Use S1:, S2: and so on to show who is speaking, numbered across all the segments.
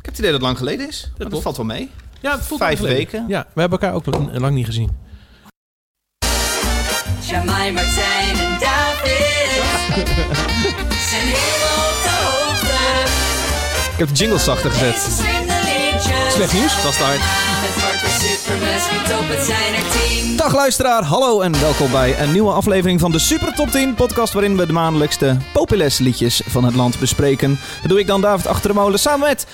S1: het idee dat het lang geleden is. maar dat
S2: klopt.
S1: valt wel mee.
S2: Ja, het voelt
S1: Vijf
S2: lang geleden.
S1: weken.
S2: Ja, we hebben elkaar ook l- lang niet gezien.
S3: Jamai, Martijn en David zijn heel op de hoogte.
S1: Ik heb de jingle zachter gezet.
S3: Ze zingen liedjes.
S2: Slecht nieuws.
S1: Dat is de hard.
S3: Het wordt weer supermes, niet op, het zijn er tien.
S1: Dag luisteraar, hallo en welkom bij een nieuwe aflevering van de Super Top 10 podcast waarin we de maandelijkste populaires liedjes van het land bespreken. Dat doe ik dan David achter de molen samen met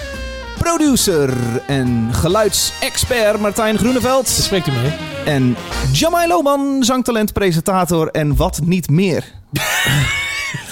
S1: producer en geluidsexpert Martijn
S2: Dat
S1: Groeneveld
S2: spreekt u mee.
S1: en Jamai Loman, zangtalent, presentator en wat niet meer.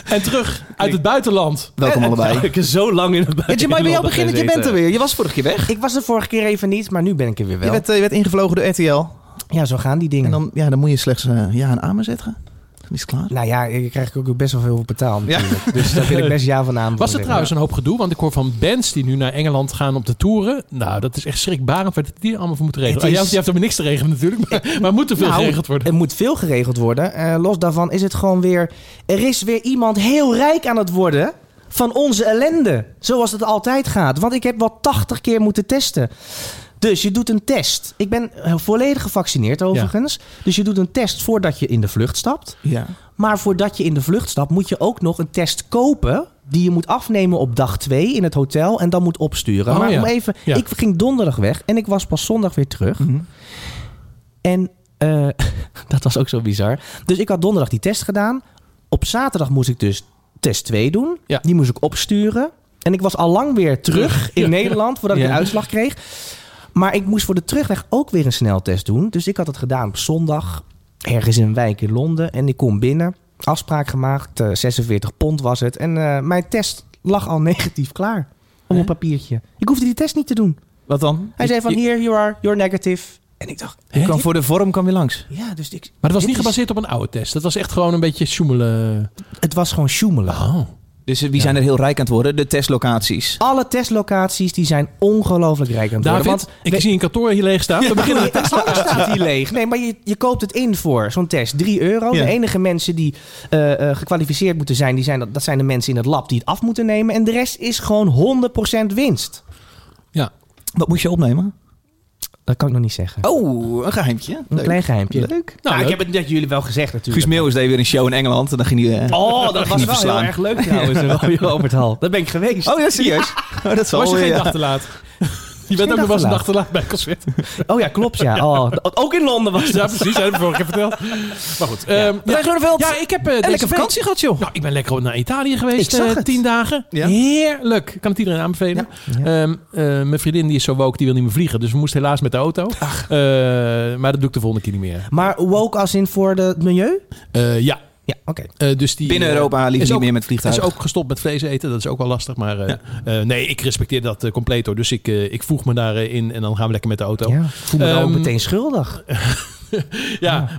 S2: En terug uit het buitenland.
S1: Welkom
S2: En-
S1: allebei.
S2: Eh, Ik heb zo lang in het buitenland.
S1: Ja, Jamai, bij jou beginnen, je bent er
S2: gezeten.
S1: weer. Je was vorige keer weg.
S4: Ik was er vorige keer even niet, maar nu ben ik er weer
S1: Je
S4: wel.
S1: werd, eh, je werd ingevlogen door RTL.
S4: Ja, zo gaan die dingen.
S1: En dan, ja, dan moet je slechts eh, ja en amen zeggen. Dan is het klaar.
S4: Nou ja, ik krijg ik ook best wel veel voor betaald
S1: Ja.
S4: natuurlijk. Dus daar wil ik best ja van aan.
S2: Was er trouwens een hoop gedoe? Want ik hoor van bands die nu naar Engeland gaan op de toeren. Nou, dat is echt schrikbarend wat die er allemaal voor moeten regelen.
S4: Het
S2: Ah,
S4: is-
S2: jij- jij hebt er niks te regelen natuurlijk, maar, maar moet er veel
S4: Nou,
S2: geregeld worden.
S4: Er moet veel geregeld worden. Eh, los daarvan is het gewoon weer... Er is weer iemand heel rijk aan het worden van onze ellende. Zoals het altijd gaat. Want ik heb wel 80 keer moeten testen. Dus je doet een test. Ik ben eh, volledig gevaccineerd overigens. Dus je doet een test voordat je in de vlucht stapt.
S1: Ja.
S4: Maar voordat je in de vlucht stapt, moet je ook nog een test kopen. Die je moet afnemen op dag 2 in het hotel en dan moet opsturen.
S2: Oh,
S4: maar
S2: ja.
S4: om even,
S2: Ja. Mhm.
S4: ik ging donderdag weg en ik was pas zondag weer terug. En eh, dat was ook zo bizar. Dus ik had donderdag die test gedaan. Op zaterdag moest ik dus test 2 doen.
S2: Ja.
S4: Die moest ik opsturen. En ik was al lang weer terug in Nederland voordat ik
S2: Ja.
S4: de uitslag kreeg. Maar ik moest voor de terugweg ook weer een sneltest doen. Dus ik had het gedaan op zondag, ergens in een wijk in Londen. En ik kom binnen, afspraak gemaakt, eh, 46 pond was het. En eh, mijn test lag al negatief klaar op een papiertje. Ik hoefde die test niet te doen.
S1: Wat dan?
S4: Hij zei van, hier, you are, you're negative. En ik dacht,
S2: Hè?
S1: voor de vorm kwam weer langs.
S4: ja, dus ik...
S2: Maar dat was
S4: dit
S2: niet
S4: is-
S2: gebaseerd op een oude test. Dat was echt gewoon een beetje sjoemelen.
S4: Het was gewoon sjoemelen.
S2: Oh.
S1: Dus eh, wie zijn er heel rijk aan het worden? De testlocaties.
S4: Alle testlocaties die zijn ongelooflijk rijk aan het
S2: David,
S4: worden. Want
S2: ik
S4: we-
S2: zie een kantoor hier leeg staan. We beginnen
S4: Nee, alles staat hier leeg. Nee, maar je, je koopt het in voor zo'n test. 3 euro.
S1: Ja.
S4: De enige mensen die eh, eh, gekwalificeerd moeten zijn, die zijn dat, dat zijn de mensen in het lab die het af moeten nemen. En de rest is gewoon 100% winst.
S2: Ja.
S1: Wat moest je opnemen?
S4: Dat kan ik nog niet zeggen.
S1: Oh, een geheimtje.
S4: een klein geheimpje.
S1: Leuk.
S4: Nou, ik
S2: leuk.
S4: heb het net jullie wel gezegd
S1: Guus
S4: natuurlijk.
S1: Meeuwis deed weer een show in Engeland. En dan ging hij... eh,
S4: Oh, dat was
S1: niet
S4: wel
S1: verslaan.
S4: heel erg leuk trouwens. in Royal Albert Hall. Dat ben ik geweest.
S1: Oh ja, serieus? Oh, dat is
S2: was
S1: wel
S2: je geen
S1: weer,
S2: dag
S1: ja.
S2: te laat? Je bent ook nog wel eens een dag te laat bij een concert.
S4: Oh ja, klopt ja. Oh, ook in Londen was
S2: Ja,
S4: dat.
S2: precies. Dat heb ik vorige keer verteld. Maar goed. ehm, ja.
S1: Martijn Groeneveld.
S2: Ja, ik heb eh,
S1: En
S2: deze
S1: lekker
S2: week-
S1: vakantie gehad, joh.
S2: Nou, ik ben lekker naar Italië geweest.
S4: Ik zag
S2: eh,
S4: het.
S2: Tien dagen.
S1: Ja.
S2: Heerlijk. Ik kan het iedereen aanbevelen. Ehm, eh, mijn vriendin die is zo woke, die wil niet meer vliegen. Dus we moesten helaas met de auto. Eh, maar dat doe ik de volgende keer niet meer.
S4: Maar woke als in voor de- het milieu?
S2: Eh, ja.
S4: Ja, oké.
S2: Eh, dus die,
S1: Binnen
S2: eh,
S1: Europa
S2: is
S1: liever niet
S2: ook-
S1: meer met
S2: Hij is
S1: vliegtuigen.
S2: ook gestopt met vlees eten. Dat is ook wel lastig. Maar eh, eh, nee, ik respecteer dat eh, compleet hoor. Dus ik, eh, ik voeg me daarin in en dan gaan we lekker met de auto. Ja,
S4: Ja, voel me dan ook
S2: Ehm,
S4: meteen schuldig.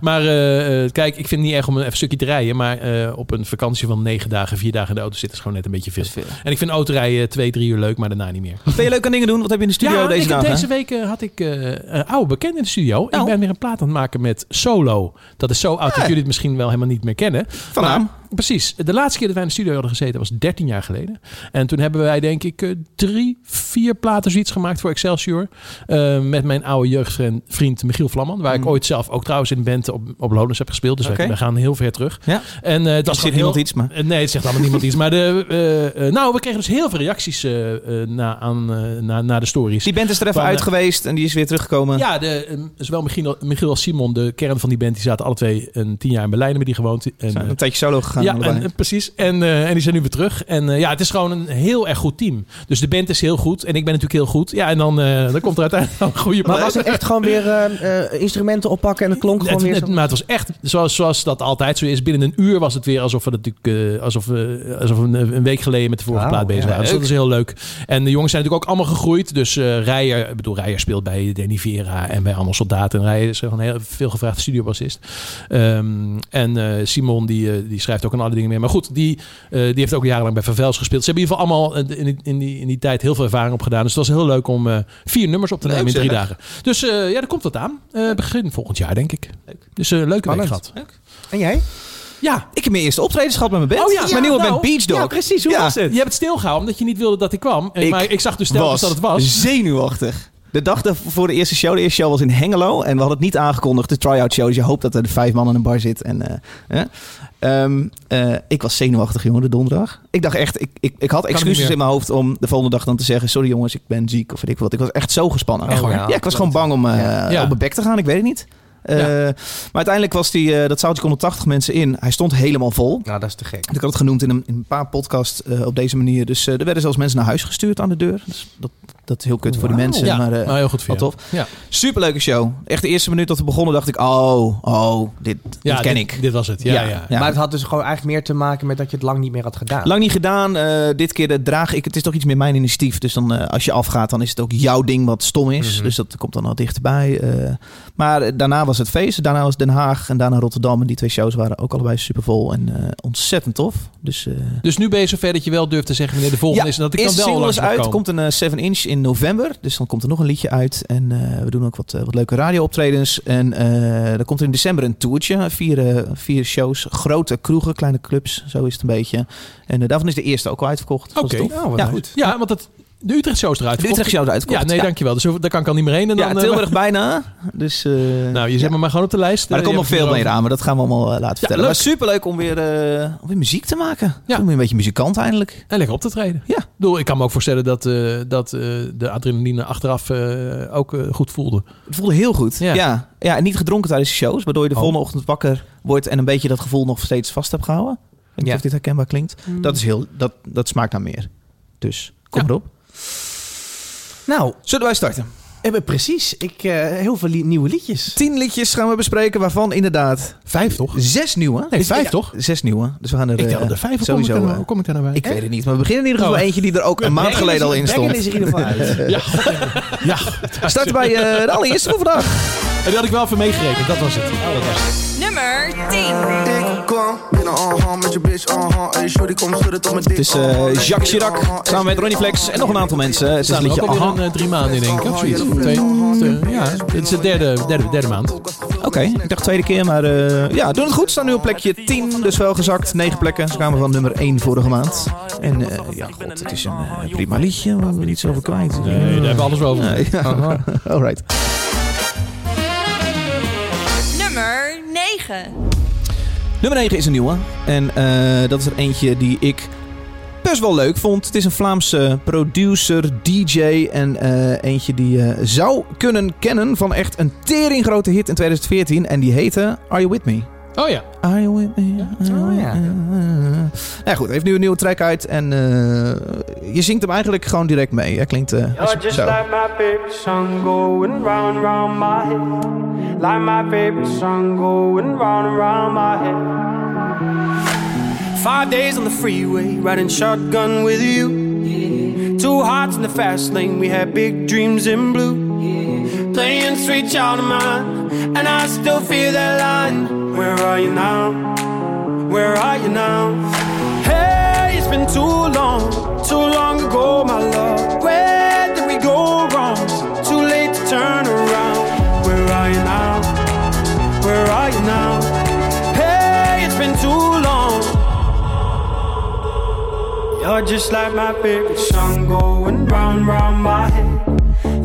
S2: maar eh, eh, kijk, ik vind het niet erg om een even stukje te rijden. Maar eh, op een vakantie van negen dagen, vier dagen in de auto zitten is gewoon net een beetje veel. En ik vind autorijden twee, drie uur leuk, maar daarna niet meer.
S1: Wat ben je leuk aan dingen doen? Wat heb je in de studio
S2: ja,
S1: deze
S2: ik heb
S1: dagen?
S2: deze week eh, had ik eh, een oude bekende in de studio.
S1: Nou.
S2: Ik ben weer een plaat aan het maken met Solo. Dat is zo oud dat jullie het misschien wel helemaal niet meer kennen.
S1: Van
S2: Maar-
S1: naam.
S2: Precies. De laatste keer dat wij in de studio hadden gezeten was 13 jaar geleden. En toen hebben wij denk ik eh, drie, vier platen zoiets gemaakt voor Excelsior. Eh, met mijn oude jeugdvriend vriend Michiel Vlamman. Waar ik ooit zelf ook trouwens in band op, op Lowlands heb gespeeld. Dus wij-
S1: Oké.
S2: wij, gaan heel ver terug.
S1: Ja.
S2: En eh, het
S1: Dat zit
S2: was gewoon heel,
S1: niemand iets, maar...
S2: eh, Nee, het zegt allemaal niemand iets. Maar de, eh, eh, nou, we kregen dus heel veel reacties eh, eh, na, aan, eh, na, na de stories.
S1: Die band is er even
S2: Van, eh,
S1: uit geweest en die is weer teruggekomen.
S2: Ja, de, ehm, zowel Michiel, Michiel als Simon, de kern van die band, die zaten alle twee een tien jaar in Berlijn hebben die gewoond. En,
S1: Zijn
S2: eh,
S1: een tijdje solo gegaan.
S2: ja,
S1: allebei.
S2: en, en precies. En, eh, en die zijn nu weer terug. En eh, ja, het is gewoon een heel erg goed team. Dus de band is heel goed en ik ben natuurlijk heel goed. Ja, en dan, eh, dan komt er uiteindelijk wel een goede
S4: Maar
S2: plaat.
S4: was het echt gewoon weer eh, eh, instrumenten oppakken en het klonk gewoon
S2: Het-
S4: weer...
S2: het-
S4: zo-
S2: maar het was echt, zoals, zoals dat altijd zo is, binnen een uur was het weer alsof we, natuurlijk, eh, alsof we, alsof we een, een week geleden met de vorige
S4: Wauw,
S2: plaat bezig
S4: ja,
S2: waren. Dus dat is heel leuk. En de jongens zijn natuurlijk ook allemaal gegroeid. Dus eh Rijer, ik bedoel, Rijer speelt bij Danny Vera en bij allemaal soldaten. En Rijer is gewoon een heel veel gevraagd studiobassist. Ehm, en eh, Simon, die, eh, die schrijft ook aan alle dingen mee. Maar goed, die, eh, die heeft ook jarenlang bij Vervels gespeeld. Ze hebben in ieder geval allemaal eh, in die, in die, in die tijd heel veel ervaring opgedaan. Dus het was heel leuk om eh, vier nummers op te
S1: Leuk,
S2: nemen in drie
S1: zeg.
S2: dagen. Dus eh, ja, er komt wat aan. Eh, begin volgend jaar, denk ik. Dus eh leuke week
S4: Spannend.
S2: gehad.
S4: En jij?
S2: Ja.
S1: Ik heb mijn eerste optredens gehad met mijn band.
S2: Oh ja,
S1: mijn
S2: ja,
S1: nieuwe
S2: nou,
S1: band Beach Dog.
S4: Ja, precies. Hoe
S1: Ja.
S4: was
S2: Je
S4: het?
S2: hebt het stilgehouden omdat je niet wilde dat ik kwam. Eh,
S1: Ik
S2: maar ik zag dus telkens dat het was.
S1: zenuwachtig. De dag daarvoor- voor de eerste show. De eerste show was in Hengelo. En we hadden het niet aangekondigd. De try-out show. Dus je hoopt dat er vijf man in een bar zit. En, eh, eh. Ehm, eh, ik was zenuwachtig, jongen, de donderdag. Ik dacht echt... Ik, ik, ik had
S2: niet
S1: excuses
S2: meer.
S1: in mijn hoofd om de volgende dag dan te zeggen... Sorry jongens, ik ben ziek of weet ik wat. Ik was echt zo gespannen.
S4: Echt waar?
S1: ja, ik was gewoon bang om eh,
S4: Ja.
S2: Oh, Ja.
S1: op mijn bek te gaan. Ik weet het niet. Eh,
S2: Ja.
S1: Maar uiteindelijk was die, eh, dat zaaltje kon er 80 mensen in. Hij stond helemaal vol.
S4: Nou, dat is te gek.
S1: Ik had het genoemd in een, in een paar podcasts eh, op deze manier. Dus eh, er werden zelfs mensen naar huis gestuurd aan de deur. Dus dat, dat is heel kut voor die mensen.
S2: ja,
S1: Maar, eh,
S2: nou, heel goed voor
S1: wat
S2: jou. Ja,
S1: superleuke show. Echt de eerste minuut dat we begonnen dacht ik... Oh, oh, dit,
S2: ja
S1: dit ken
S2: dit,
S1: ik.
S2: Dit was het. Ja, ja.
S1: Ja.
S4: Maar het had dus gewoon eigenlijk meer te maken met dat je het lang niet meer had gedaan.
S1: Lang niet gedaan. eh, dit keer eh, draag ik... Het is toch iets meer mijn initiatief. Dus dan, eh, als je afgaat, dan is het ook jouw ding wat stom is.
S4: Mhm.
S1: Dus dat komt dan al dichterbij. eh. maar eh, daarna was het feest. Daarna was Den Haag en daarna Rotterdam. En die twee shows waren ook allebei supervol. En eh, ontzettend tof. Dus... eh,
S2: Dus nu ben je zover dat je wel durft te zeggen wanneer de volgende
S1: Ja,
S2: is. En dat ik dan
S1: eerste
S2: wel
S1: single is
S2: langs mag
S1: uit. Er
S2: komen.
S1: komt een 7-inch in november. Dus dan komt er nog een liedje uit. En eh, we doen ook wat, eh, wat leuke radiooptredens. En eh er komt in december een toertje. Vier, eh, vier shows. Grote kroegen, kleine clubs. Zo is het een beetje. En eh, daarvan is de eerste ook al uitverkocht. Dat was
S2: Oké.
S1: tof.
S4: Nou, wat
S1: Ja,
S4: goed.
S2: Ja, want dat, de Utrecht Show is eruit.
S1: De Utrecht show is uitverkocht.
S2: Ja, nee, dankjewel. Dus daar kan ik al niet meer heen. En
S1: Ja,
S2: dan, eh,
S1: Tilburg bijna. Dus, eh,
S2: Nou, je
S1: ja.
S2: zet me maar gewoon op de lijst.
S1: Maar er
S2: Eh,
S1: komt nog
S2: je hebt
S1: veel
S2: er
S1: meer aan. Maar dat gaan we allemaal eh, laten vertellen.
S2: leuk.
S1: maar superleuk om weer, eh, om weer muziek te maken.
S2: Ja.
S1: Om weer een beetje muzikant eindelijk.
S2: En lekker op te treden.
S1: Ja.
S2: Ik, bedoel, ik kan me ook voorstellen dat, eh, dat eh, de adrenaline achteraf eh, ook eh, goed voelde.
S1: Het voelde heel goed. Ja.
S2: Ja.
S1: Ja. en niet gedronken tijdens de shows, waardoor je de
S2: Oh.
S1: volgende ochtend wakker wordt en een beetje dat gevoel nog steeds vast hebt gehouden. Ik weet niet
S4: Ja.
S1: of dit herkenbaar klinkt. Dat, is heel, dat, dat smaakt naar meer. Dus kom
S2: Ja.
S1: erop.
S4: Nou,
S1: Zullen wij starten?
S4: eh, maar precies. Ik, eh, heel veel li- nieuwe liedjes.
S1: Tien liedjes gaan we bespreken, waarvan inderdaad
S2: Vijf toch?
S1: zes nieuwe.
S2: Nee,
S1: Is-
S2: vijf
S1: ja,
S2: toch?
S1: Zes nieuwe. Dus we gaan er,
S2: Ik
S1: eh,
S2: tel er vijf. Hoe kom ik
S1: sowieso.
S2: daar nou-
S1: eh,
S2: hoe kom ik daar nou bij?
S1: ik weet het niet, maar we beginnen in ieder geval
S2: Oh.
S1: eentje die er ook een maand
S4: Baggen
S1: geleden al
S4: is-
S1: in
S4: Baggen
S1: stond.
S4: is er in ieder geval uit.
S2: Ja. ja.
S1: Start bij eh, de allereerste van vandaag.
S2: En die had ik wel even meegerekend. Dat was het. Oh, dat was het.
S3: Nummer 10.
S5: Ik kwam binnen, uh-huh, met je bitch, uh-huh. Hey, shorty, kom schudden tot mijn dik. Uh-huh,
S1: Het is eh, Jacques Chirac samen met Ronnie Flex en nog een aantal mensen. Het is een
S2: Staan er
S1: liedje
S2: ook alweer
S1: Aha.
S2: een, eh, drie maanden in, denk ik. Of zoiets. Twee, twee- ja, dit is de derde, derde, derde maand.
S1: Oké, ik dacht tweede keer, maar eh, ja, doen het goed. Staan nu op plekje 10, dus wel gezakt. 9 plekken. Ze kwamen van nummer 1 vorige maand. En eh, ja, god, het is een eh, prima liedje, waar we niet zoveel kwijt. eh.
S2: Nee, daar hebben we alles over.
S1: Nee, ja.
S4: Aha.
S1: Alright.
S3: Nummer 9.
S1: Nummer 9 is een nieuwe. En eh, dat is er eentje die ik best wel leuk vond. Het is een Vlaamse producer, DJ en eh, eentje die je zou kunnen kennen van echt een teringgrote hit in 2014. En die heette Are You With Me?
S2: Oh ja.
S1: Are you with me? Ah, Are you
S4: Oh,
S1: with
S4: ja.
S1: me? Nou ja, goed, hij heeft nu een nieuwe track uit en eh, je zingt hem eigenlijk gewoon direct mee. Hij klinkt eh,
S6: You're just
S1: zo.
S6: like my favorite song going round and round my head. Like my favorite song going round and round my head. Five days on the freeway, riding shotgun with you. Two hearts in the fast lane, we had big dreams in blue. Playing sweet child of mine, and I still feel that line. Where are you now? Where are you now? Hey, it's been too long, too long ago, my love. Where did we go wrong? Too late to turn around. Where are you now? Where are you now? Hey, it's been too long. You're just like my favorite song going round and round my head.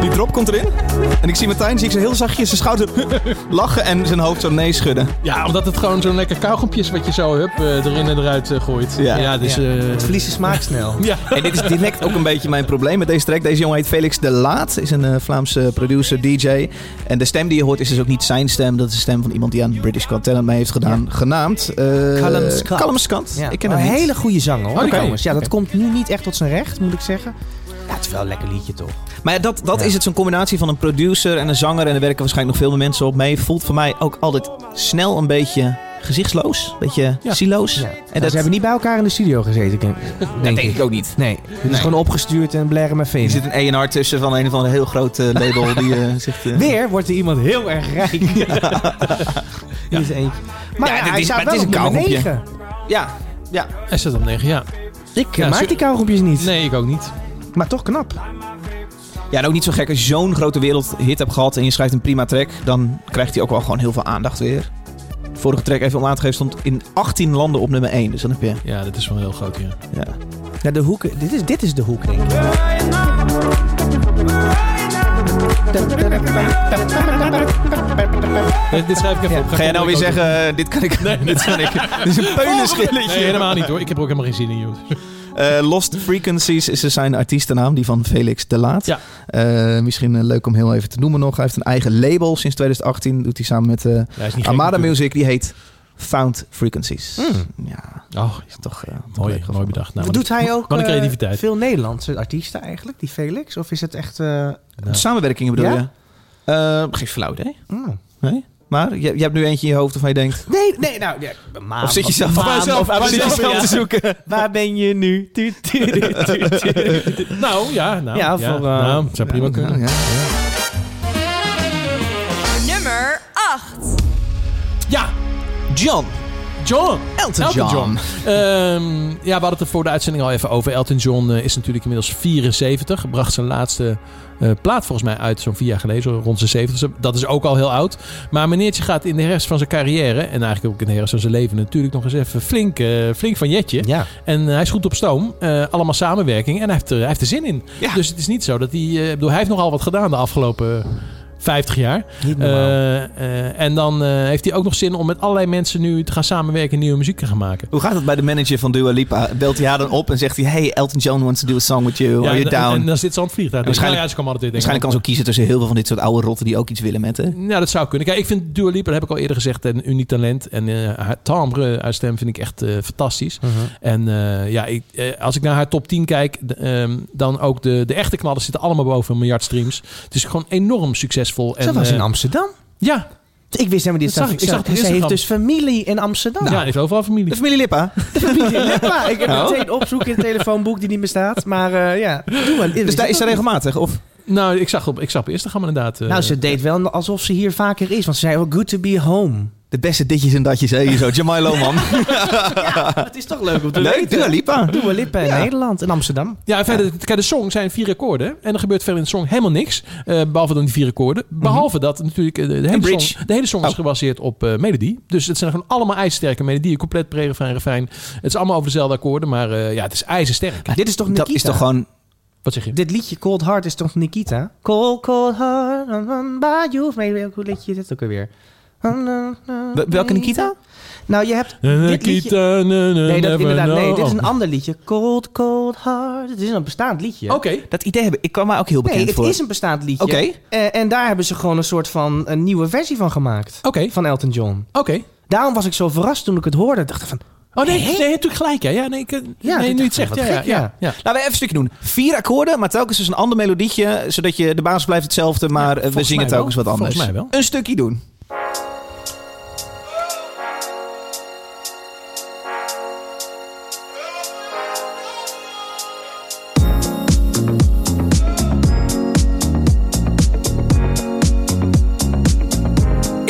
S1: Die drop komt erin en ik zie Martijn, zie ik zo heel zachtjes zijn schouder lachen en zijn hoofd zo nee schudden.
S2: Ja, omdat het gewoon zo'n lekker kauwgompje is wat je zo hup, eh, erin en eruit eh, gooit.
S1: Ja.
S2: Ja, dus...
S4: Ja.
S2: eh,
S4: Het verliest de smaak snel.
S2: ja.
S1: En dit is direct ook een beetje mijn probleem met deze track. Deze jongen heet Felix de Laat, is een eh, Vlaamse producer, DJ. En de stem die je hoort is dus ook niet zijn stem, dat is de stem van iemand die aan British Got Talent mee heeft gedaan, genaamd... eh
S4: Callum Scott.
S1: Callum Scott.
S4: Ja.
S1: Ik ken
S4: Maar
S1: hem
S4: een
S1: niet.
S4: hele goede zanger hoor.
S2: Oh, die ken je.
S4: Trouwens, Ja, dat komt nu niet echt tot zijn recht, moet ik zeggen. Ja, het is wel een lekker liedje toch?
S1: Maar ja, dat, dat
S4: Ja.
S1: is het, zo'n combinatie van een producer en een zanger. En er werken waarschijnlijk nog veel meer mensen op mee. Voelt voor mij ook altijd snel een beetje gezichtsloos. Een beetje
S2: Ja.
S1: zieloos.
S4: Ja.
S1: En dat
S4: Ze hebben niet bij elkaar in de studio gezeten, denk, denk ik.
S1: ook niet.
S4: Nee, het is
S1: Nee.
S4: gewoon opgestuurd en blaren met
S1: Er
S4: veen.
S1: zit een A&R tussen van een of andere heel groot eh, label. die eh, zegt... eh,
S4: Weer wordt er iemand heel erg rijk. Hier is eentje. Maar
S1: Ja, dit
S4: hij
S1: is-
S4: staat
S1: maar het
S4: wel
S1: is
S4: op nummer
S1: een kauwgompje.
S4: 9.
S1: Ja, Ja.
S2: Hij staat op 9, ja.
S4: Ik
S2: Ja,
S4: maak
S2: zo-
S4: die kauwgompjes niet.
S2: Nee, ik ook niet.
S4: Maar toch knap.
S1: Ja, en ook niet zo gek als je zo'n grote wereldhit hebt gehad en je schrijft een prima track, dan krijgt hij ook wel gewoon heel veel aandacht weer. De vorige track, even om aan te geven, stond in 18 landen op nummer 1. Dus dan heb je...
S2: Ja, dat is wel heel groot, ja.
S1: Ja.
S4: Ja, de hoeken. Dit is, dit is de hoek, denk ik.
S2: Eh, Dit, dit schrijf ik even op.
S1: Ga jij nou weer
S2: ik ook doen.
S1: zeggen, dit kan ik... Nee, dit kan ik. Dit is een peulenschilletje.
S2: Nee, helemaal niet hoor. Ik heb er ook helemaal geen zin in, joh.
S1: Eh, Lost Frequencies is dus zijn artiestennaam, die van Felix de Laat.
S2: Ja.
S1: Eh, misschien eh, leuk om heel even te noemen nog. Hij heeft een eigen label sinds 2018. Doet hij samen met eh,
S2: Ja, hij is niet gek
S1: Amada
S2: natuurlijk.
S1: Music. Die heet Found Frequencies. Ja,
S2: Oh,
S1: is toch... eh, toch
S2: mooi,
S1: leuk
S2: mooi
S1: gevonden.
S2: bedacht. Nou,
S4: Doet hij ook
S2: Wat een
S4: eh,
S2: creativiteit.
S4: veel Nederlandse artiesten eigenlijk, die Felix? Of is het echt... eh,
S2: Ja.
S1: Samenwerkingen bedoel
S4: Ja?
S1: je? Eh, geen flauw idee.
S4: mm.
S1: Nee? Maar je, je hebt nu eentje in je hoofd waarvan je denkt...
S4: Nee, nee, nou... Ja, maar-
S1: Of zit je zelf
S4: maar-
S1: aan- of
S4: maar-
S1: zit je
S4: maar-
S1: zelf te zoeken?
S4: Waar ben je nu? Tu- tu- tu- tu- tu- tu.
S2: Nou, ja. Nou,
S4: Ja,
S2: ja,
S4: voor, eh,
S2: nou, zou prima kunnen.
S1: Ja,
S3: Nummer 8.
S2: Ja,
S1: John.
S2: John.
S1: Elton, John.
S2: Ehm, ja, we hadden het er voor de uitzending al even over. Elton John eh, is natuurlijk inmiddels 74. Bracht zijn laatste eh, plaat volgens mij uit zo'n vier jaar geleden. Zo rond zijn 70. Dat is ook al heel oud. Maar meneertje gaat in de rest van zijn carrière... en eigenlijk ook in de rest van zijn leven natuurlijk nog eens even flink, eh, flink van jetje.
S4: Ja.
S2: En hij is goed op stoom. Eh, allemaal samenwerking. En hij heeft, er, hij heeft er zin in.
S1: Ja.
S2: Dus het is niet zo dat hij... eh, ik bedoel, hij heeft nogal wat gedaan de afgelopen 50 jaar.
S4: Niet normaal.
S2: Eh, eh, en dan eh, heeft hij ook nog zin om met allerlei mensen nu te gaan samenwerken... en nieuwe muziek te gaan maken.
S1: Hoe gaat het bij de manager van Dua Lipa? Belt hij haar dan op en zegt hij... Hey, Elton John wants to do a song with you. Are
S2: en,
S1: you down?
S2: En, en dan zit ze aan het vliegtuig.
S1: Waarschijnlijk-
S2: Waarschijnlijk, ja, ze kan altijd denken.
S1: Waarschijnlijk kan ze ook kiezen tussen heel veel van dit soort oude rotten die ook iets willen met. Hè?
S2: Nou, dat zou kunnen. Kijk, ik vind Dua Lipa, dat heb ik al eerder gezegd, een uniek talent. En eh, haar timbre, haar stem vind ik echt eh, fantastisch. En eh, ja, ik, eh, als ik naar haar top 10 kijk, d- ehm, dan ook de, de echte knallers zitten allemaal boven een miljard streams. Het is gewoon enorm succesvol. En,
S4: Ze was
S2: eh,
S4: in Amsterdam.
S2: ja,
S4: Ik wist helemaal niet.
S2: Dat zag ik. Ik zag het op
S4: ze heeft
S2: Instagram.
S4: dus familie in Amsterdam.
S2: ja, heeft overal familie.
S1: De familie Lippa.
S4: Familie Lippa. Ik heb meteen opzoek in het telefoonboek die niet bestaat. Maar eh, ja, doe maar.
S1: Dus daar is ze
S4: er
S1: regelmatig. Of
S2: Nou, ik zag op, ik zag op Instagram inderdaad. eh,
S4: Nou, ze deed wel alsof ze hier vaker is. Want ze zei wel, good to be home.
S1: de beste ditjes en datjes. Hé, hier zo. Jamai Loman.
S4: Het is toch leuk om te
S1: Leuk, Ah. Dua Lipa.
S4: Dua Lipa in
S1: Ja.
S4: Nederland, in Amsterdam.
S2: Ja, en verder, kijk, de song zijn vier akkoorden. En er gebeurt verder in de song helemaal niks. eh, behalve dan die vier akkoorden. Behalve dat natuurlijk eh, de, de hele
S1: Mhm. bridge.
S2: song, de hele song is
S1: Oh.
S2: gebaseerd op eh, melodie. Dus het zijn gewoon allemaal ijzersterke melodieën. Compleet pre-refrein, refrein. Het is allemaal over dezelfde akkoorden. Maar eh, ja, het is ijzersterk.
S4: dit is toch Nikita?
S1: Dat Ah, is toch gewoon...
S2: Wat zeg je?
S4: Dit liedje Cold Heart is toch Nikita? Cold, cold heart, run, run by you. Of nee, hoe liedje is dit ook alweer?
S1: Wel- Welke Nikita?
S4: Nou, je hebt dit liedje... Nee, dat inderdaad. Nee, dit is een ander liedje. Cold, cold heart. Het is een bestaand liedje.
S2: Oké.
S1: Dat idee hebben. Ik kwam mij ook heel bekend
S4: Nee, het
S1: voor.
S4: is een bestaand liedje.
S1: Oké.
S4: Eh, en daar hebben ze gewoon een soort van een nieuwe versie van gemaakt.
S2: Oké.
S4: Van Elton John.
S2: Oké.
S4: Daarom was ik zo verrast toen ik het hoorde. Ik dacht van,
S2: Oh nee, nee, je hebt natuurlijk gelijk. Ja, ja nee, ik, eh,
S4: Ja,
S2: nee
S4: dit
S2: nu je
S4: dacht
S2: het
S4: ik,
S2: zegt. Ja,
S4: wat
S2: ja,
S4: gek, ja.
S2: ja, ja.
S1: Laten we even een stukje doen. Vier akkoorden, maar telkens dus een ander melodietje. Zodat je, de basis blijft hetzelfde, maar eh, we
S2: volgens
S1: zingen
S2: mij
S1: telkens
S2: wel.
S1: wat anders.
S2: Volgens mij wel.
S1: Een stukje doen.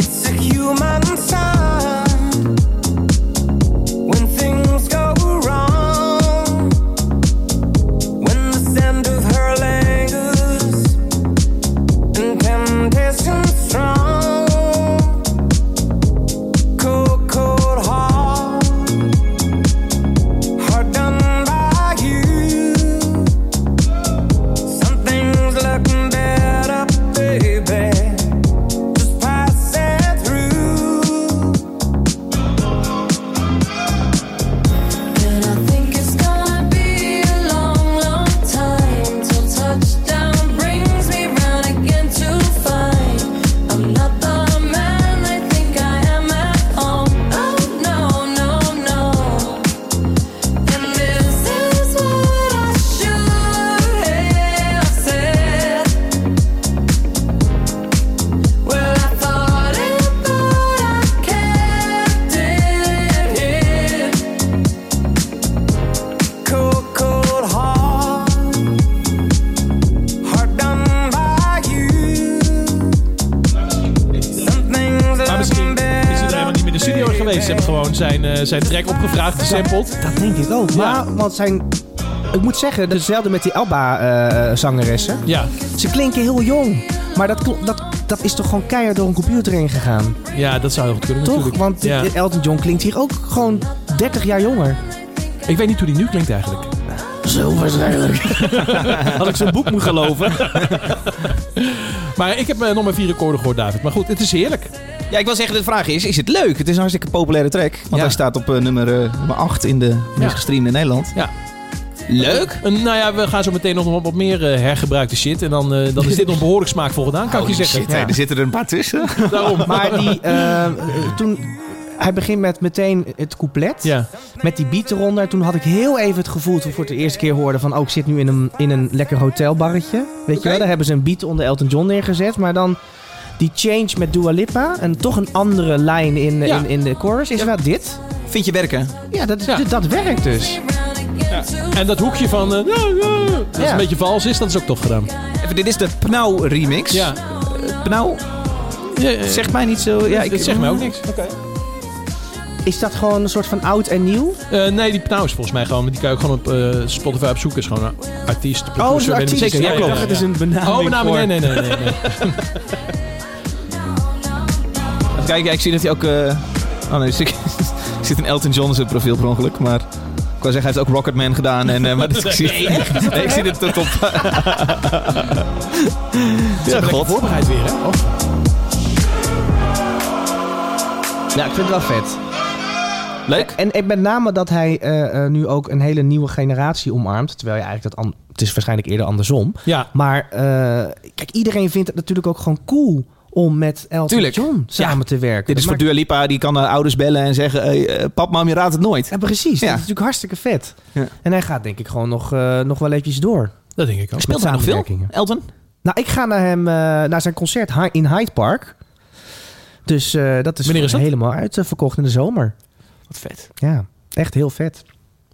S6: It's a human sign when things go wrong. When the scent of her lingers and temptation strong.
S3: Oh,
S2: Nou, Prince heeft gewoon zijn, eh, zijn track opgevraagd, gesampled.
S4: Dat denk ik ook.
S2: Ja.
S4: Maar, want zijn... Ik moet zeggen, dat is hetzelfde met die Elba-zangeressen.
S2: Ja,
S4: Ze klinken heel jong. Maar dat, kl- dat, dat is toch gewoon keihard door een computer heen gegaan?
S2: ja, dat zou heel goed kunnen
S4: Toch?
S2: natuurlijk.
S4: Want
S2: Ja.
S4: dit- Elton John klinkt hier ook gewoon 30 jaar jonger.
S2: Ik weet niet hoe die nu klinkt eigenlijk.
S4: Zo waarschijnlijk.
S1: Had ik zo'n boek moet geloven.
S2: Maar ik heb eh, nog maar vier akkoorden gehoord, David. Maar goed, het is heerlijk.
S1: Ja, ik wil zeggen, de vraag is, is het leuk? Het is een hartstikke populaire track. Want
S2: Ja.
S1: hij staat op eh, nummer, eh, nummer 8 in de meest
S2: Ja.
S1: gestreamde in Nederland.
S2: Ja.
S1: Leuk?
S2: En, nou ja, we gaan zo meteen nog wat wat meer eh, hergebruikte shit. En dan, eh, dan is dit nog behoorlijk smaakvol gedaan, kan ik je zeggen.
S1: Shit, hé, er zitten er een paar tussen.
S2: Daarom.
S4: Maar die, eh, eh, toen... Hij begint met meteen het couplet.
S2: Ja,
S4: Met die beat eronder. En Toen had ik heel even het gevoel, toen ik voor de eerste keer hoorde van... Oh, ik zit nu in een, in een lekker hotelbarretje. Weet je wel, daar hebben ze een beat onder Elton John neergezet. Maar dan die change met Dua Lipa. En toch een andere lijn in,
S2: Ja.
S4: in, in de chorus. Is wel dit?
S1: Vind je werken?
S4: Ja, dat,
S2: Ja.
S4: dat, dat werkt dus.
S2: en dat hoekje van... eh, ja, ja, dat is
S4: Ja.
S2: een beetje vals is, dat is ook tof gedaan.
S1: Even, dit is de Pnau remix.
S2: Ja.
S1: Pnau
S2: Ja, ja, ja.
S1: zegt Nou, mij niet zo... Ja, ik,
S2: dat zegt mij ook niks.
S4: Is dat gewoon een soort van oud en nieuw?
S2: Eh, nee, die Pnau is volgens mij gewoon... Die kan je ook gewoon op eh, Spotify opzoeken. Is gewoon een artiest.
S4: Oh,
S2: producer,
S4: een
S2: weet ik niet
S4: artiest.
S2: zeker. Ja,
S4: Ik
S2: klopt.
S4: dacht, het is een benaming
S2: Oh, benaming.
S4: voor-
S2: Nee, nee, nee. nee, nee.
S1: Kijk, ja, ik zie dat hij ook... eh, Oh nee, er zit, er zit een Elton John in zijn profiel per ongeluk, maar... Ik wou zeggen, hij heeft ook Rocketman gedaan. En, eh, maar dit, ik, zie, nee, ik zie dit tot op... ja, god.
S2: Voorbereid weer, hè? Oh.
S4: Ja, ik vind het wel vet.
S1: Leuk.
S4: En, en met name dat hij eh, eh, nu ook een hele nieuwe generatie omarmt. Terwijl je eigenlijk dat... an- Het is waarschijnlijk eerder andersom.
S2: Ja.
S4: Maar eh, kijk, iedereen vindt het natuurlijk ook gewoon cool om met Elton
S1: Tuurlijk.
S4: John samen te werken.
S1: Dit is
S4: Dat
S1: voor
S4: maakt-
S1: Dua Lipa, die kan haar ouders bellen en zeggen... eh, eh, pap, mam, je raadt het nooit.
S4: Ja, precies.
S1: Ja.
S4: Dat is natuurlijk hartstikke vet.
S1: Ja.
S4: En hij gaat denk ik gewoon nog, eh, nog wel eventjes door.
S2: Dat denk ik ook.
S1: Speelt hij nog veel,
S4: samenwerkingen.
S1: Elton?
S4: Nou, ik ga naar, hem, eh, naar zijn concert Hi- in Hyde Park. Dus eh, dat is,
S2: Wanneer is dat?
S4: helemaal uitverkocht in de zomer.
S1: Wat vet.
S4: Ja, echt heel vet.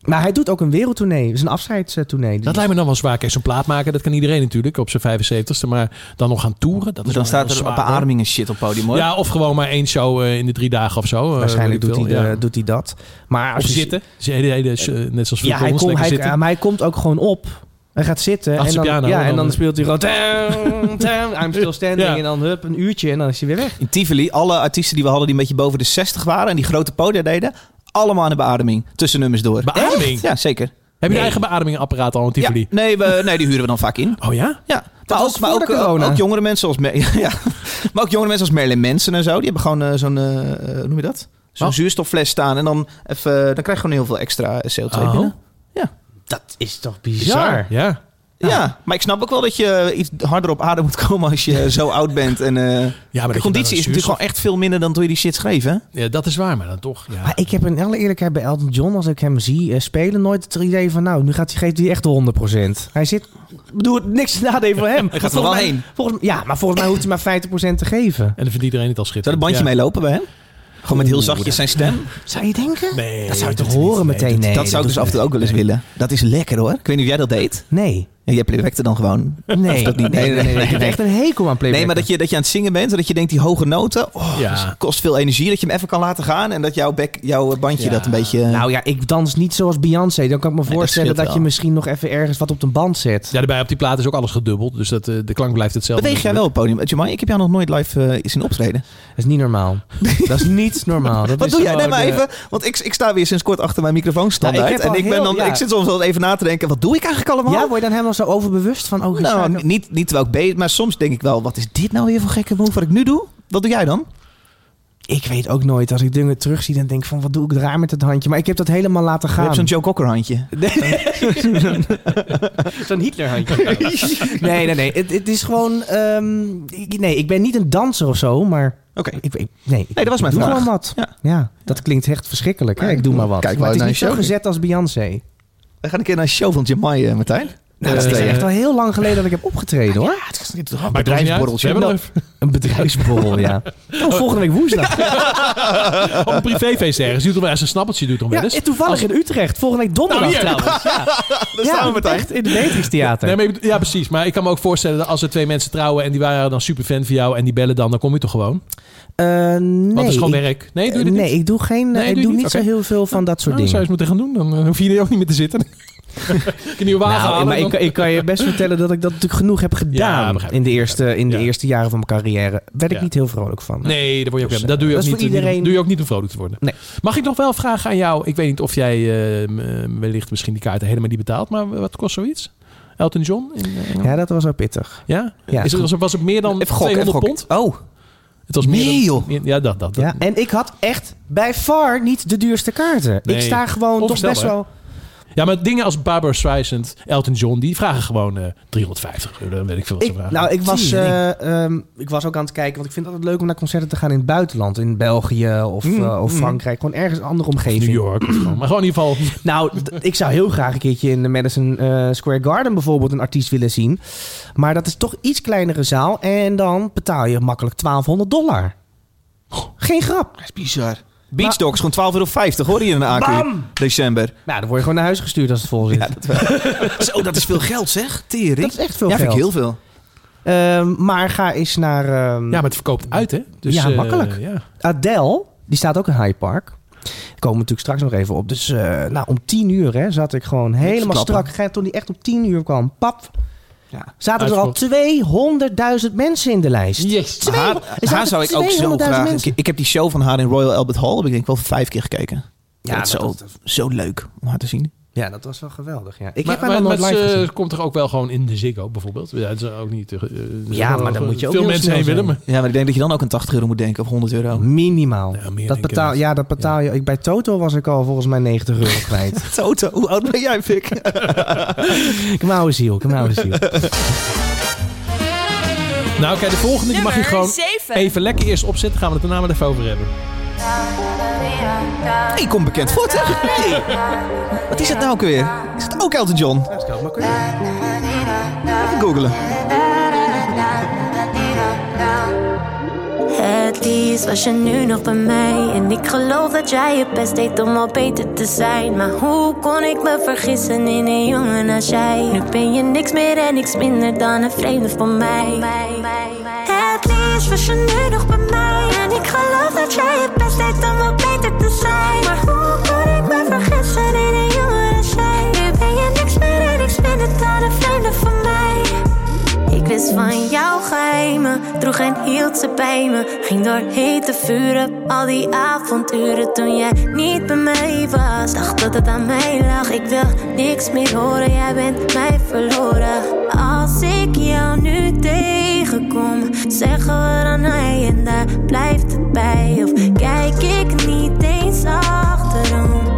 S4: Maar hij doet ook een wereldtournee. Het is een afscheidstournee.
S2: Dat lijkt me dan wel zwaar. Kijk, zo'n plaat maken, dat kan iedereen natuurlijk op zijn 75ste. Maar dan nog gaan toeren, dat
S1: Dus
S2: is
S1: dan
S2: wel
S1: staat
S2: heel
S1: er een
S2: zwaar,
S1: paar
S2: hoor.
S1: armingen shit op het podium, hoor.
S2: Ja, of gewoon maar één show eh, in de drie dagen of zo. eh,
S4: Waarschijnlijk
S2: weet
S4: doet
S2: ik
S4: hij,
S2: veel,
S4: de-
S2: ja.
S4: doet hij dat. Maar
S2: Of
S4: als je-
S2: zitten. Ze- hij- hij- hij- eh, Net zoals
S4: Ja,
S2: Phil
S4: hij,
S2: Collins,
S4: komt
S2: lekker
S4: hij,
S2: zitten.
S4: maar hij komt ook gewoon op. Hij gaat zitten.
S2: Achter
S4: en
S2: de
S4: dan,
S2: piano,
S4: ja, en
S2: dan-
S4: dan speelt hij gewoon... tam, tam, I'm still standing.
S2: Ja.
S4: En dan hup, een uurtje en dan is hij weer weg.
S1: In Tivoli, alle artiesten die we hadden die een beetje boven de 60 waren... en die grote podia deden, allemaal aan de beademing. Tussen nummers door.
S2: Beademing?
S1: Echt? Ja, zeker.
S2: Heb je een eigen beademingapparaat al in
S1: Ja,
S2: Tivoli?
S1: nee, we, nee, die huren we dan vaak in.
S2: Oh ja?
S1: Ja, maar,
S4: was
S1: ook, maar
S4: voor
S1: ook, eh,
S4: de corona.
S1: ook jongere mensen als Mer- ja, maar ook jongere mensen als Merlin Manson en zo. Die hebben gewoon eh, zo'n, eh, eh, hoe noem je dat? Zo'n
S2: Oh.
S1: zuurstoffles staan en dan, even, eh, dan krijg je gewoon heel veel extra eh, CO2
S2: Oh.
S1: binnen.
S4: Dat is toch
S2: Bizar. Ja.
S1: Ja, maar ik snap ook wel dat je eh, iets harder op adem moet komen als je zo oud bent. En, eh,
S2: Ja, maar
S1: de conditie is natuurlijk gewoon echt veel minder dan toen je die shit schreef, hè?
S2: gewoon... Ja, dat is waar, maar dan toch. Ja.
S4: Maar ik heb in alle eerlijkheid bij Elton John, als ik hem zie eh, spelen, nooit het idee van... Nou, nu gaat hij, geeft hij echt de 100%. Hij zit... Ik bedoel, niks te nadenken voor hem.
S1: er
S4: Volgens
S1: wel
S4: mij-
S1: heen.
S4: Volgens, ja, maar volgens mij hoeft hij maar 50% te geven.
S2: En dan vindt iedereen het al
S1: Zou
S2: schitterend.
S1: dat bandje
S2: ja.
S1: mee lopen bij hem? Gewoon met heel zachtjes zijn stem.
S4: Zou je denken?
S2: Nee.
S4: dat zou je toch horen
S2: niet.
S4: meteen? Nee,
S1: dat zou ik dus af en toe ook wel eens willen. Dat is lekker hoor. Ik weet niet of jij dat deed.
S4: Nee.
S1: Ja, jij plekte dan gewoon.
S4: Nee.
S1: dat niet?
S4: Nee, nee, nee, nee. Ik heb echt een hekel aan playback.
S1: Nee, maar dat je, dat je aan het zingen bent en dat je denkt die hoge noten, oh,
S2: Ja.
S1: dat kost veel energie, dat je hem even kan laten gaan en dat jouw, bek, jouw bandje
S2: Ja.
S1: dat een beetje...
S4: Nou ja, ik dans niet zoals Beyoncé. Dan kan ik me
S1: Eh. dat
S4: voorstellen
S1: scheelt
S4: dat,
S1: wel.
S4: je misschien nog even ergens wat op de band zet.
S2: Ja, daarbij op die plaat is ook alles gedubbeld. Dus dat, eh, de klank blijft hetzelfde.
S1: Beweeg jij wel op het podium? Jamai, ik heb jou nog nooit live eh, zien optreden.
S4: Dat is niet normaal. dat is niet normaal. Dat
S1: Wat
S4: is
S1: doe jij? Nee,
S4: gewoon,
S1: maar
S4: eh,
S1: even. Want ik, ik sta weer sinds kort achter mijn microfoon standaard.
S4: Nou, ik heb
S1: en
S4: al
S1: ik, ben
S4: heel-
S1: dan,
S4: ja.
S1: ik zit soms wel even na te denken: wat doe ik eigenlijk allemaal?
S4: Ja, word je dan helemaal zo overbewust van... Oh,
S1: nou,
S4: nou,
S1: n- niet, niet terwijl ik bezig maar soms denk ik wel: wat is dit nou weer voor gekke move wat ik nu doe? Wat doe jij dan?
S4: Ik weet ook nooit. Als ik dingen terugzie, dan denk ik van... Wat doe ik raar met dat handje? Maar ik heb dat helemaal laten
S1: Je
S4: gaan.
S1: hebt zo'n Joe Cocker handje.
S4: zo'n Hitler-handje. nee, nee, nee. Het, het is gewoon... ehm, ik- nee, ik ben niet een danser of zo, maar...
S1: Oké.
S4: Ik, ik, nee, ik,
S1: dat was
S4: ik
S1: mijn
S4: doe
S1: vraag.
S4: gewoon wat.
S1: Ja.
S4: Ja. dat klinkt echt verschrikkelijk. Hè?
S1: Maar
S4: Ik doe maar wat.
S1: kijk wel
S4: maar het is
S1: naar
S4: niet
S1: je
S4: zo
S1: show.
S4: gezet als Beyoncé.
S1: We gaan een keer naar een show van Jamai, eh, Martijn.
S4: Nou, dat is
S1: Eh,
S4: echt al heel lang geleden dat ik heb opgetreden, hoor.
S1: Een
S2: Maar het maakt niet uit. We
S1: bedrijfsborreltje.
S2: hebben
S1: Nou,
S2: nog
S4: Een bedrijfsborrel, ja. Oh, volgende week woensdag.
S2: even- op een privéfeest ergens. Doet er wel eens een snappeltje doet er wel
S4: Ja,
S2: eens.
S4: en toevallig in Utrecht. Volgende week donderdag
S2: Nou, hier.
S4: trouwens. Ja,
S1: Daar staan we meteen.
S4: echt in het Beatrix Theater.
S2: Nee, maar ik bedoel- ja, precies. Maar ik kan me ook voorstellen dat als er twee mensen trouwen en die waren dan super fan van jou en die bellen dan, dan kom je toch gewoon? Want
S4: Eh, nee,
S2: het is gewoon
S4: ik-
S2: werk. Nee, doe je
S4: eh,
S2: dit
S4: nee,
S2: niet?
S4: ik doe, geen,
S2: Nee,
S4: ik
S2: doe
S4: doe,
S2: je
S4: niet
S2: niet?
S4: zo
S2: Oké.
S4: heel veel van dat soort
S2: Nou,
S4: dingen.
S2: dan zou je eens moeten gaan doen. Dan eh, hoef je hier ook niet meer te zitten. Kun je wagen
S4: Nou,
S2: halen.
S4: maar ik,
S2: dan-
S4: ik kan je best vertellen dat ik dat natuurlijk genoeg heb gedaan.
S2: begrijp ik.
S4: in de, eerste, in de
S2: Ja.
S4: eerste jaren van mijn carrière werd ik
S2: Ja.
S4: niet heel vrolijk van.
S2: Nee, daar word je ook,
S4: Dus, eh,
S2: dat doe je
S4: dat
S2: ook
S4: is
S2: niet.
S4: voor iedereen-
S2: niet- doe je ook niet om vrolijk te worden.
S4: Nee.
S2: Mag ik nog wel vragen aan jou? Ik weet niet of jij eh, m- eh, wellicht misschien die kaarten helemaal niet betaalt, maar wat kost zoiets? Elton John? In, eh,
S4: Ja, dat was wel pittig.
S2: ja?
S4: Ja,
S2: Is het, was, het, was het meer dan
S1: Even gokken,
S2: 200
S1: even gokken.
S2: pond?
S1: Oh,
S2: Het was meer
S1: Nee,
S2: dan-
S1: joh.
S2: meer- ja, dat, dat. dat.
S4: Ja, en ik had echt bij far niet de duurste kaarten.
S2: Nee,
S4: Ik sta gewoon toch best
S2: onvoorstelbaar.
S4: wel...
S2: Ja, maar dingen als Barbara Streisand, Elton John, die vragen gewoon eh 350 euro, weet ik veel wat ze
S4: Ik,
S2: vragen.
S4: nou, ik was,
S2: Zie je,
S4: eh, ehm, ik was ook aan het kijken, want ik vind het altijd leuk om naar concerten te gaan in het buitenland. In België of,
S1: Mm,
S4: eh, of Frankrijk, gewoon ergens een andere omgeving.
S2: New York. of gewoon. Maar gewoon in ieder geval.
S4: Nou, d- ik zou heel graag een keertje in de Madison eh, Square Garden bijvoorbeeld een artiest willen zien. Maar dat is toch iets kleinere zaal en dan betaal je makkelijk 1200 dollar. Geen grap.
S1: dat is bizar. Beach Dogs, gewoon 12,50 hoor hier in de AQ.
S4: Bam!
S1: December.
S4: Nou, dan word je gewoon naar huis gestuurd als het vol zit. dat,
S1: Zo, dat is veel geld zeg. Tering.
S4: is echt veel
S1: ja,
S4: geld.
S1: vind ik heel veel.
S4: Ehm, maar ga eens naar ehm,
S2: Ja, maar het verkoopt uit, hè? Dus,
S4: Ja,
S2: eh,
S4: makkelijk.
S2: ja.
S4: Adele. Die staat ook in Hyde Park. Daar komen we natuurlijk straks nog even op. Dus eh, nou, om 10 uur hè, zat ik gewoon helemaal
S1: verklappen.
S4: strak. Gij- Toen die echt om 10 uur kwam, pap.
S1: Ja.
S4: Zaten er al 200.000 mensen in de lijst.
S2: Yes.
S4: Twee-
S1: Haar,
S4: er zaten
S1: haar zou ik ook zo
S4: 200.000
S1: graag. Ik,
S4: mensen.
S1: ik heb die show van haar in Royal Albert Hall heb ik denk ik wel vijf keer gekeken. Ja, dat is
S4: maar
S1: zo, zo leuk om haar te zien.
S4: Ja, dat was wel geweldig. Ja. Ik
S2: Maar-
S4: heb haar
S2: maar
S4: nog nooit
S2: maar
S4: live
S2: ze
S4: gezien.
S2: komt toch ook wel gewoon in de Ziggo bijvoorbeeld? Ja, dat is ook niet... eh, eh, er
S4: Ja,
S2: zullen
S4: maar
S2: wel
S4: dan moet je ook
S2: Veel
S4: heel
S2: mensen
S4: snel
S2: heen willen
S4: zijn.
S2: me.
S1: Ja, maar ik denk dat je dan ook een 80 euro moet denken of 100 euro.
S4: Minimaal.
S2: Ja, meer
S4: dat
S2: denk ik
S4: betaal,
S2: wel.
S4: ja, dat betaal je. Ik, bij Toto was ik al volgens mij 90 euro kwijt.
S1: Toto, hoe oud ben jij, Fik?
S4: Kom nou eens hier, kom nou eens hier.
S2: Nou, kijk, de volgende die mag je
S3: Nummer
S2: gewoon
S3: zeven.
S2: even lekker eerst opzetten. Gaan we het daarna maar even over hebben.
S1: Hey, kom bekend voor, zeg. Hey. Wat is dat nou ook weer? Is het ook Elton John? Even googelen.
S7: Het liefst was je nu nog bij mij En ik geloof dat jij je best deed om al beter te zijn Maar hoe kon ik me vergissen in een jongen als jij Nu ben je niks meer en niks minder dan een vreemde van mij Het liefst was je nu nog bij mij En ik geloof dat jij je best deed om al beter te zijn Maar hoe kon ik me vergissen in een jongen als jij Nu ben je niks meer en niks minder dan een vreemde van mij ik wist van jouw geheimen, droeg en hield ze bij me. Ging door hete vuren, al die avonturen toen jij niet bij mij was. Dacht dat het aan mij lag, ik wil niks meer horen, jij bent mij verloren. Als ik jou nu tegenkom, zeggen we dan hij en daar blijft het bij. Of kijk ik niet eens achterom.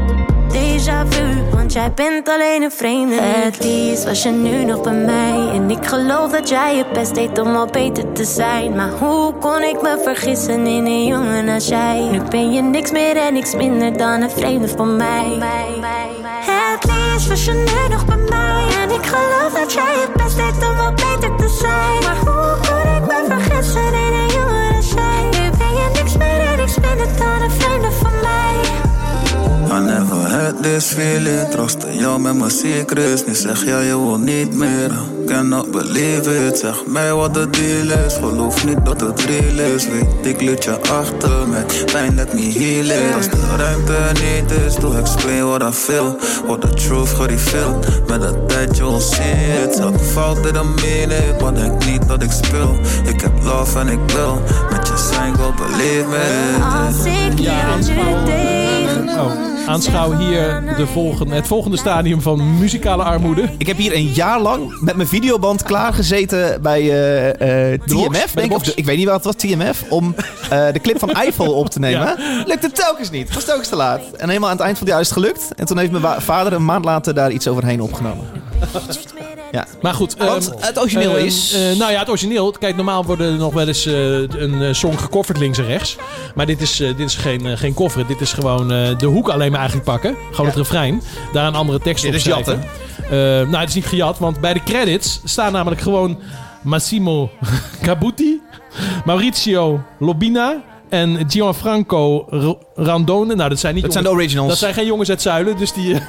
S7: Déjà vu, want jij bent alleen een vreemde. Het liefst was je nu nog bij mij. En ik geloof dat jij je best deed om al beter te zijn. Maar hoe kon ik me vergissen in een jongen als jij? Nu ben je niks meer en niks minder dan een vreemde van mij. Het liefst was je nu nog bij mij. En ik geloof dat jij je best deed om al beter te zijn. Maar hoe kon ik me vergissen in een jongen als jij? Nu ben je niks meer en niks minder dan een vreemde van mij.
S5: I never had this feeling. Troosten jou met mijn secrets. Nu zeg jij je wil niet meer. Cannot believe it. Zeg mij wat de deal is. Geloof niet dat het real is. Weet ik liet je achter met pijn, let me heal it. Als de ruimte niet is, doe explain what I feel. What the truth gerefilled. Met de tijd you'll see it. Elke fout in een meaning, maar denk niet dat ik speel. Ik heb love en ik wil met je zijn, go believe me.
S7: Als ik
S2: Ja,
S7: jou
S2: eh,
S7: nu tegen
S2: Oh, aanschouw hier de volgende, het volgende stadium van muzikale armoede.
S1: Ik heb hier een jaar lang met mijn videoband klaargezeten bij eh, eh,
S2: box? Bij
S1: TMF.
S2: de
S1: denk ik,
S2: box?
S1: of de- ik weet niet wat het was, TMF. Om eh, de clip van Eiffel op te nemen. Lukte telkens niet. Het was telkens te laat. En helemaal aan het eind van die juist gelukt. En toen heeft mijn wa- vader een maand later daar iets overheen opgenomen.
S7: niks meer en
S1: Ja.
S2: Maar goed.
S1: Want
S2: ehm,
S1: het origineel
S2: eh,
S1: is...
S2: eh, nou ja, het origineel. Kijk, normaal worden er nog wel eens eh, een eh, song gecoverd links en rechts. Maar dit is, eh, dit is geen, eh, geen cover. Dit is gewoon eh, de hoek alleen maar eigenlijk pakken. Gewoon het refrein. Daar een andere tekst
S1: Dit
S2: op
S1: is
S2: schrijven. Eh, nou, het is niet gejat. Want bij de credits staan namelijk gewoon Massimo Cabuti, Maurizio Lobina en Gianfranco Ro- Randone. Nou, dat zijn niet
S1: dat zijn de
S2: jongens-
S1: originals.
S2: dat zijn geen jongens uit Zuilen, dus die, eh,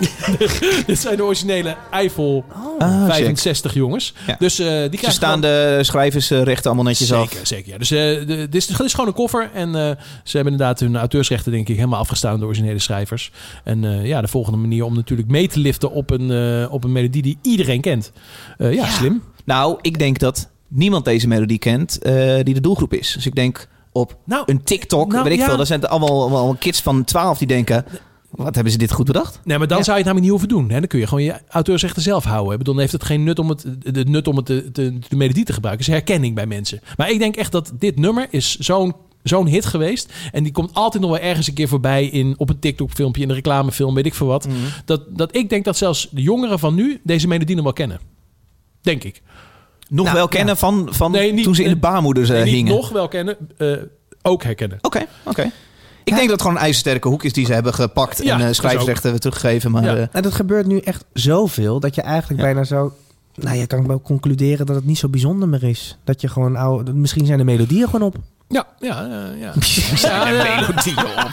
S2: dit zijn de originele Eiffel
S1: Ah, check.
S2: 65 jongens.
S1: Ja.
S2: Dus eh, die
S1: Ze
S2: krijgen
S1: staan de schrijvers eh, rechten allemaal netjes
S2: gewoon-
S1: af.
S2: Zeker, zeker. Ja. Dus eh, de- dit is, dit is gewoon een koffer. En eh, ze hebben inderdaad hun auteursrechten, denk ik, helemaal afgestaan door de originele schrijvers. En eh, ja, de volgende manier om natuurlijk mee te liften op een, eh, op een melodie die iedereen kent. Eh, ja, slim.
S1: Nou, ik denk dat niemand deze melodie kent eh, die de doelgroep is. Dus ik denk op
S2: Nou,
S1: een TikTok,
S2: nou,
S1: weet ik
S2: ja.
S1: veel. Daar zijn het allemaal, allemaal kids van 12 die denken... Wat hebben ze dit goed bedacht?
S2: Nee, maar dan zou je het namelijk niet hoeven doen. Hè? Dan kun je gewoon je auteursrechten zelf houden. Ik bedoel, dan heeft het geen nut om het, het nut om het te, te- de melodie te gebruiken. Het is herkenning bij mensen. Maar ik denk echt dat dit nummer is zo'n zo'n hit geweest. En die komt altijd nog wel ergens een keer voorbij... In, op een TikTok-filmpje, in een reclamefilm, weet ik veel wat. Dat, dat ik denk dat zelfs de jongeren van nu... deze melodie nog wel kennen. Denk ik.
S1: Nog
S4: Nou,
S1: wel kennen van, van
S2: Nee, niet-
S1: toen ze in de baarmoeders eh,
S2: En niet
S1: hingen. Oké,
S2: nog wel kennen, eh, ook herkennen.
S1: oké. Ik denk dat het gewoon een ijzersterke hoek is die ze hebben gepakt...
S2: Ja,
S1: en eh,
S2: dat is
S1: schrijfrechten hebben teruggegeven. Maar,
S2: Ja.
S1: eh,
S4: En dat gebeurt nu echt zoveel dat je eigenlijk bijna zo... Nou, je kan wel concluderen dat het niet zo bijzonder meer is. Dat je gewoon oude... Misschien zijn de melodieën gewoon op.
S2: Ja, ja, eh, ja. ja, ja.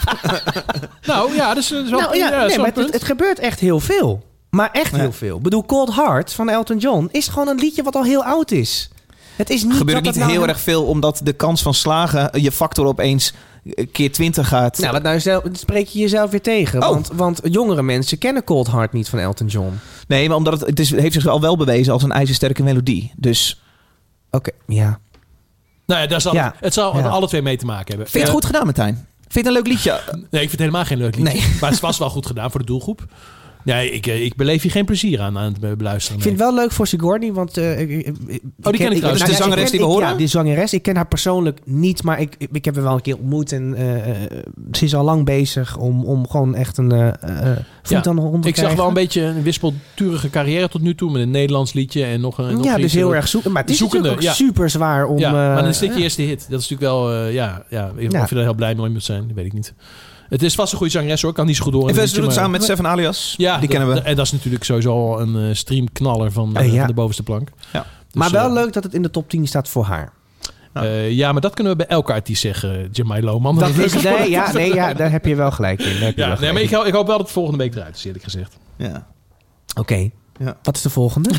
S2: Nou ja, dat is, dat is wel
S4: nou ja,
S2: ja, dat
S4: nee,
S2: is
S4: maar
S2: wel een
S4: het,
S2: punt.
S4: het gebeurt echt heel veel. Maar echt
S1: Ja.
S4: heel veel. Ik bedoel, Cold Heart van Elton John is gewoon een liedje wat al heel oud is. Het is niet
S1: gebeurt
S4: dat
S1: niet
S4: dat nou
S1: heel erg veel... omdat de kans van slagen eh, je factor opeens eh, keer 20 gaat.
S4: Nou, dat nou zelf, dat spreek je jezelf weer tegen.
S1: Oh.
S4: Want, want jongere mensen kennen Cold Heart niet van Elton John.
S1: Nee, maar omdat het, het is, heeft zich al wel bewezen als een ijzersterke melodie. Dus
S4: Oké, ja.
S2: Nou ja, daar zal,
S4: Ja.
S2: het zal
S4: Ja.
S2: alle twee mee te maken hebben.
S1: vind je het
S2: Eh,
S1: goed gedaan, Martijn? Vind je het een leuk liedje?
S2: Nee, ik vind het helemaal geen leuk liedje.
S1: Nee.
S2: Maar het was wel goed gedaan voor de doelgroep. Nee, ik, eh, ik beleef hier geen plezier aan aan het be- beluisteren.
S4: Ik
S2: nee.
S4: vind het wel leuk voor Sigourney, want... eh, ik- ik-
S1: Oh,
S2: ken ik trouwens. Dat is de
S4: ja,
S1: zangeres
S4: ken-
S1: die we horen?
S4: Ja, die zangeres. Ik ken haar persoonlijk niet, maar ik, ik, ik heb haar wel een keer ontmoet. En eh, eh, ze is al lang bezig om, om gewoon echt een eh, eh, voet
S2: Ja,
S4: aan de grond te
S2: Ik zag wel
S4: krijgen.
S2: een beetje een wispelturige carrière tot nu toe. Met een Nederlands liedje en nog een. nog
S4: Ja,
S2: iets.
S4: dus heel erg zoeken. Maar het is
S2: Zoekende,
S4: natuurlijk ook super zwaar om...
S2: Ja, maar dan is
S4: eh,
S2: dit je eerste hit. Dat is natuurlijk wel. eh, ja, ja, of
S4: Ja.
S2: je daar heel blij mee moet zijn, dat weet ik niet. Het is vast een goede zangeres hoor. Kan niet zo goed door.
S1: En
S2: een
S1: verder doen we het
S2: liedje,
S1: samen
S2: maar-
S1: met Seven Alias.
S2: Ja,
S1: die kennen we.
S2: En dat is natuurlijk sowieso al een eh, streamknaller van, eh,
S4: Eh, ja.
S2: van de bovenste plank.
S1: Ja.
S2: Dus,
S4: maar wel
S2: eh,
S4: leuk dat het in de top 10 staat voor haar.
S2: eh, ja, maar dat kunnen we bij elke artiest zeggen, Jamai Lohman.
S4: Dat is, nee, ja, nee ja, daar heb je wel gelijk in. Daar heb je
S2: Ja,
S4: wel
S2: nee, maar
S4: gelijk
S2: ik, ho- ik hoop wel dat het volgende week eruit is, eerlijk gezegd.
S1: Ja.
S4: in. Oké,
S1: Ja.
S4: wat is de volgende?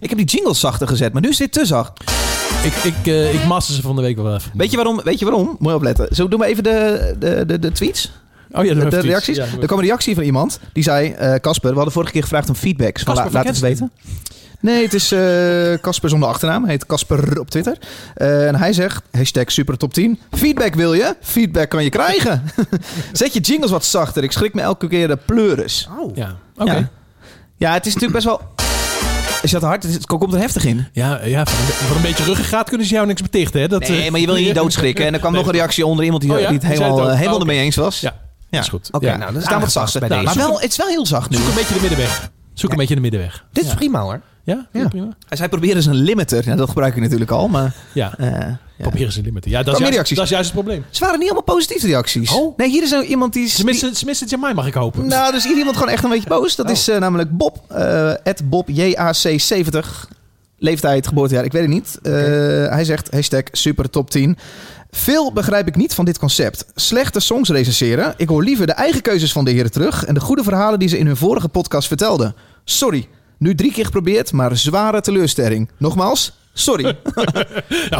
S1: Ik heb die jingles zachter gezet, maar nu is dit te zacht.
S2: Ik, ik, eh, ik master ze van de week wel even.
S1: Weet je waarom? Weet je waarom? Moet je opletten. Zo doen we even de, de, de, de tweets,
S2: oh,
S1: de,
S2: ja, doe even
S1: de
S2: iets.
S1: reacties.
S2: Ja,
S1: er kwam een reactie van iemand die zei: eh, Casper, we hadden vorige keer gevraagd om feedback. Van,
S2: Casper
S1: la,
S2: van
S1: laat het
S2: Kensington.
S1: weten. Nee, het is eh, Casper zonder achternaam. Hij heet Casper op Twitter. Eh, en hij zegt: hashtag supertop 10. Feedback wil je? Feedback kan je krijgen. Zet je jingles wat zachter. Ik schrik me elke keer de pleuris.
S4: Oh.
S2: Ja, oké.
S1: Ja. Ja, het is natuurlijk best wel. Is dat hard? Het is- Het komt er heftig in.
S2: Ja, ja, van, een, be- van een beetje ruggengraat kunnen ze jou niks betichten, hè? Dat, eh,
S1: Nee, maar je wil je niet doodschrikken. En er kwam
S2: Nee.
S1: nog een reactie onder iemand die,
S2: Oh ja?
S1: die het
S2: Die zei
S1: helemaal,
S2: het ook.
S1: eh, helemaal
S2: Oh, oké.
S1: ermee eens was.
S2: Ja,
S1: Ja.
S2: dat is goed.
S4: Oké,
S2: Ja.
S4: nou, dat is
S1: Staan wat
S4: aangepast
S1: zachter.
S4: bij
S2: Nou,
S1: Maar
S4: deze.
S1: wel, het is wel heel zacht nu.
S2: Zoek een beetje de middenweg. Zoek een beetje de middenweg.
S4: Dit is
S2: ja.
S4: prima hoor.
S2: Ja, ja,
S1: Ja.
S2: prima.
S1: Zij proberen dus een limiter. Ja, dat gebruik ik natuurlijk al, maar...
S2: Ja,
S1: eh, ja.
S2: probeer eens een limiter. Ja, dat
S1: meer
S2: is, juist,
S1: reacties?
S2: dat is juist het probleem.
S1: Ze waren niet allemaal positieve reacties.
S2: Oh.
S1: Nee, hier is nou iemand die... is-
S2: Ze missen, ze missen Jamai, mag ik hopen.
S1: die- nou, dus hier iemand gewoon echt een beetje boos. Dat
S2: Oh.
S1: is eh, namelijk Bob. eh, At Bob, JAC70. Leeftijd, geboortejaar, ik weet het niet. Eh, Hij zegt, hashtag super top 10. Veel begrijp ik niet van dit concept. Slechte songs recenseren. Ik hoor liever de eigen keuzes van de heren terug... en de goede verhalen die ze in hun vorige podcast vertelden. Sorry. Nu drie keer geprobeerd, maar zware teleurstelling. Nogmaals, sorry.
S2: Nou,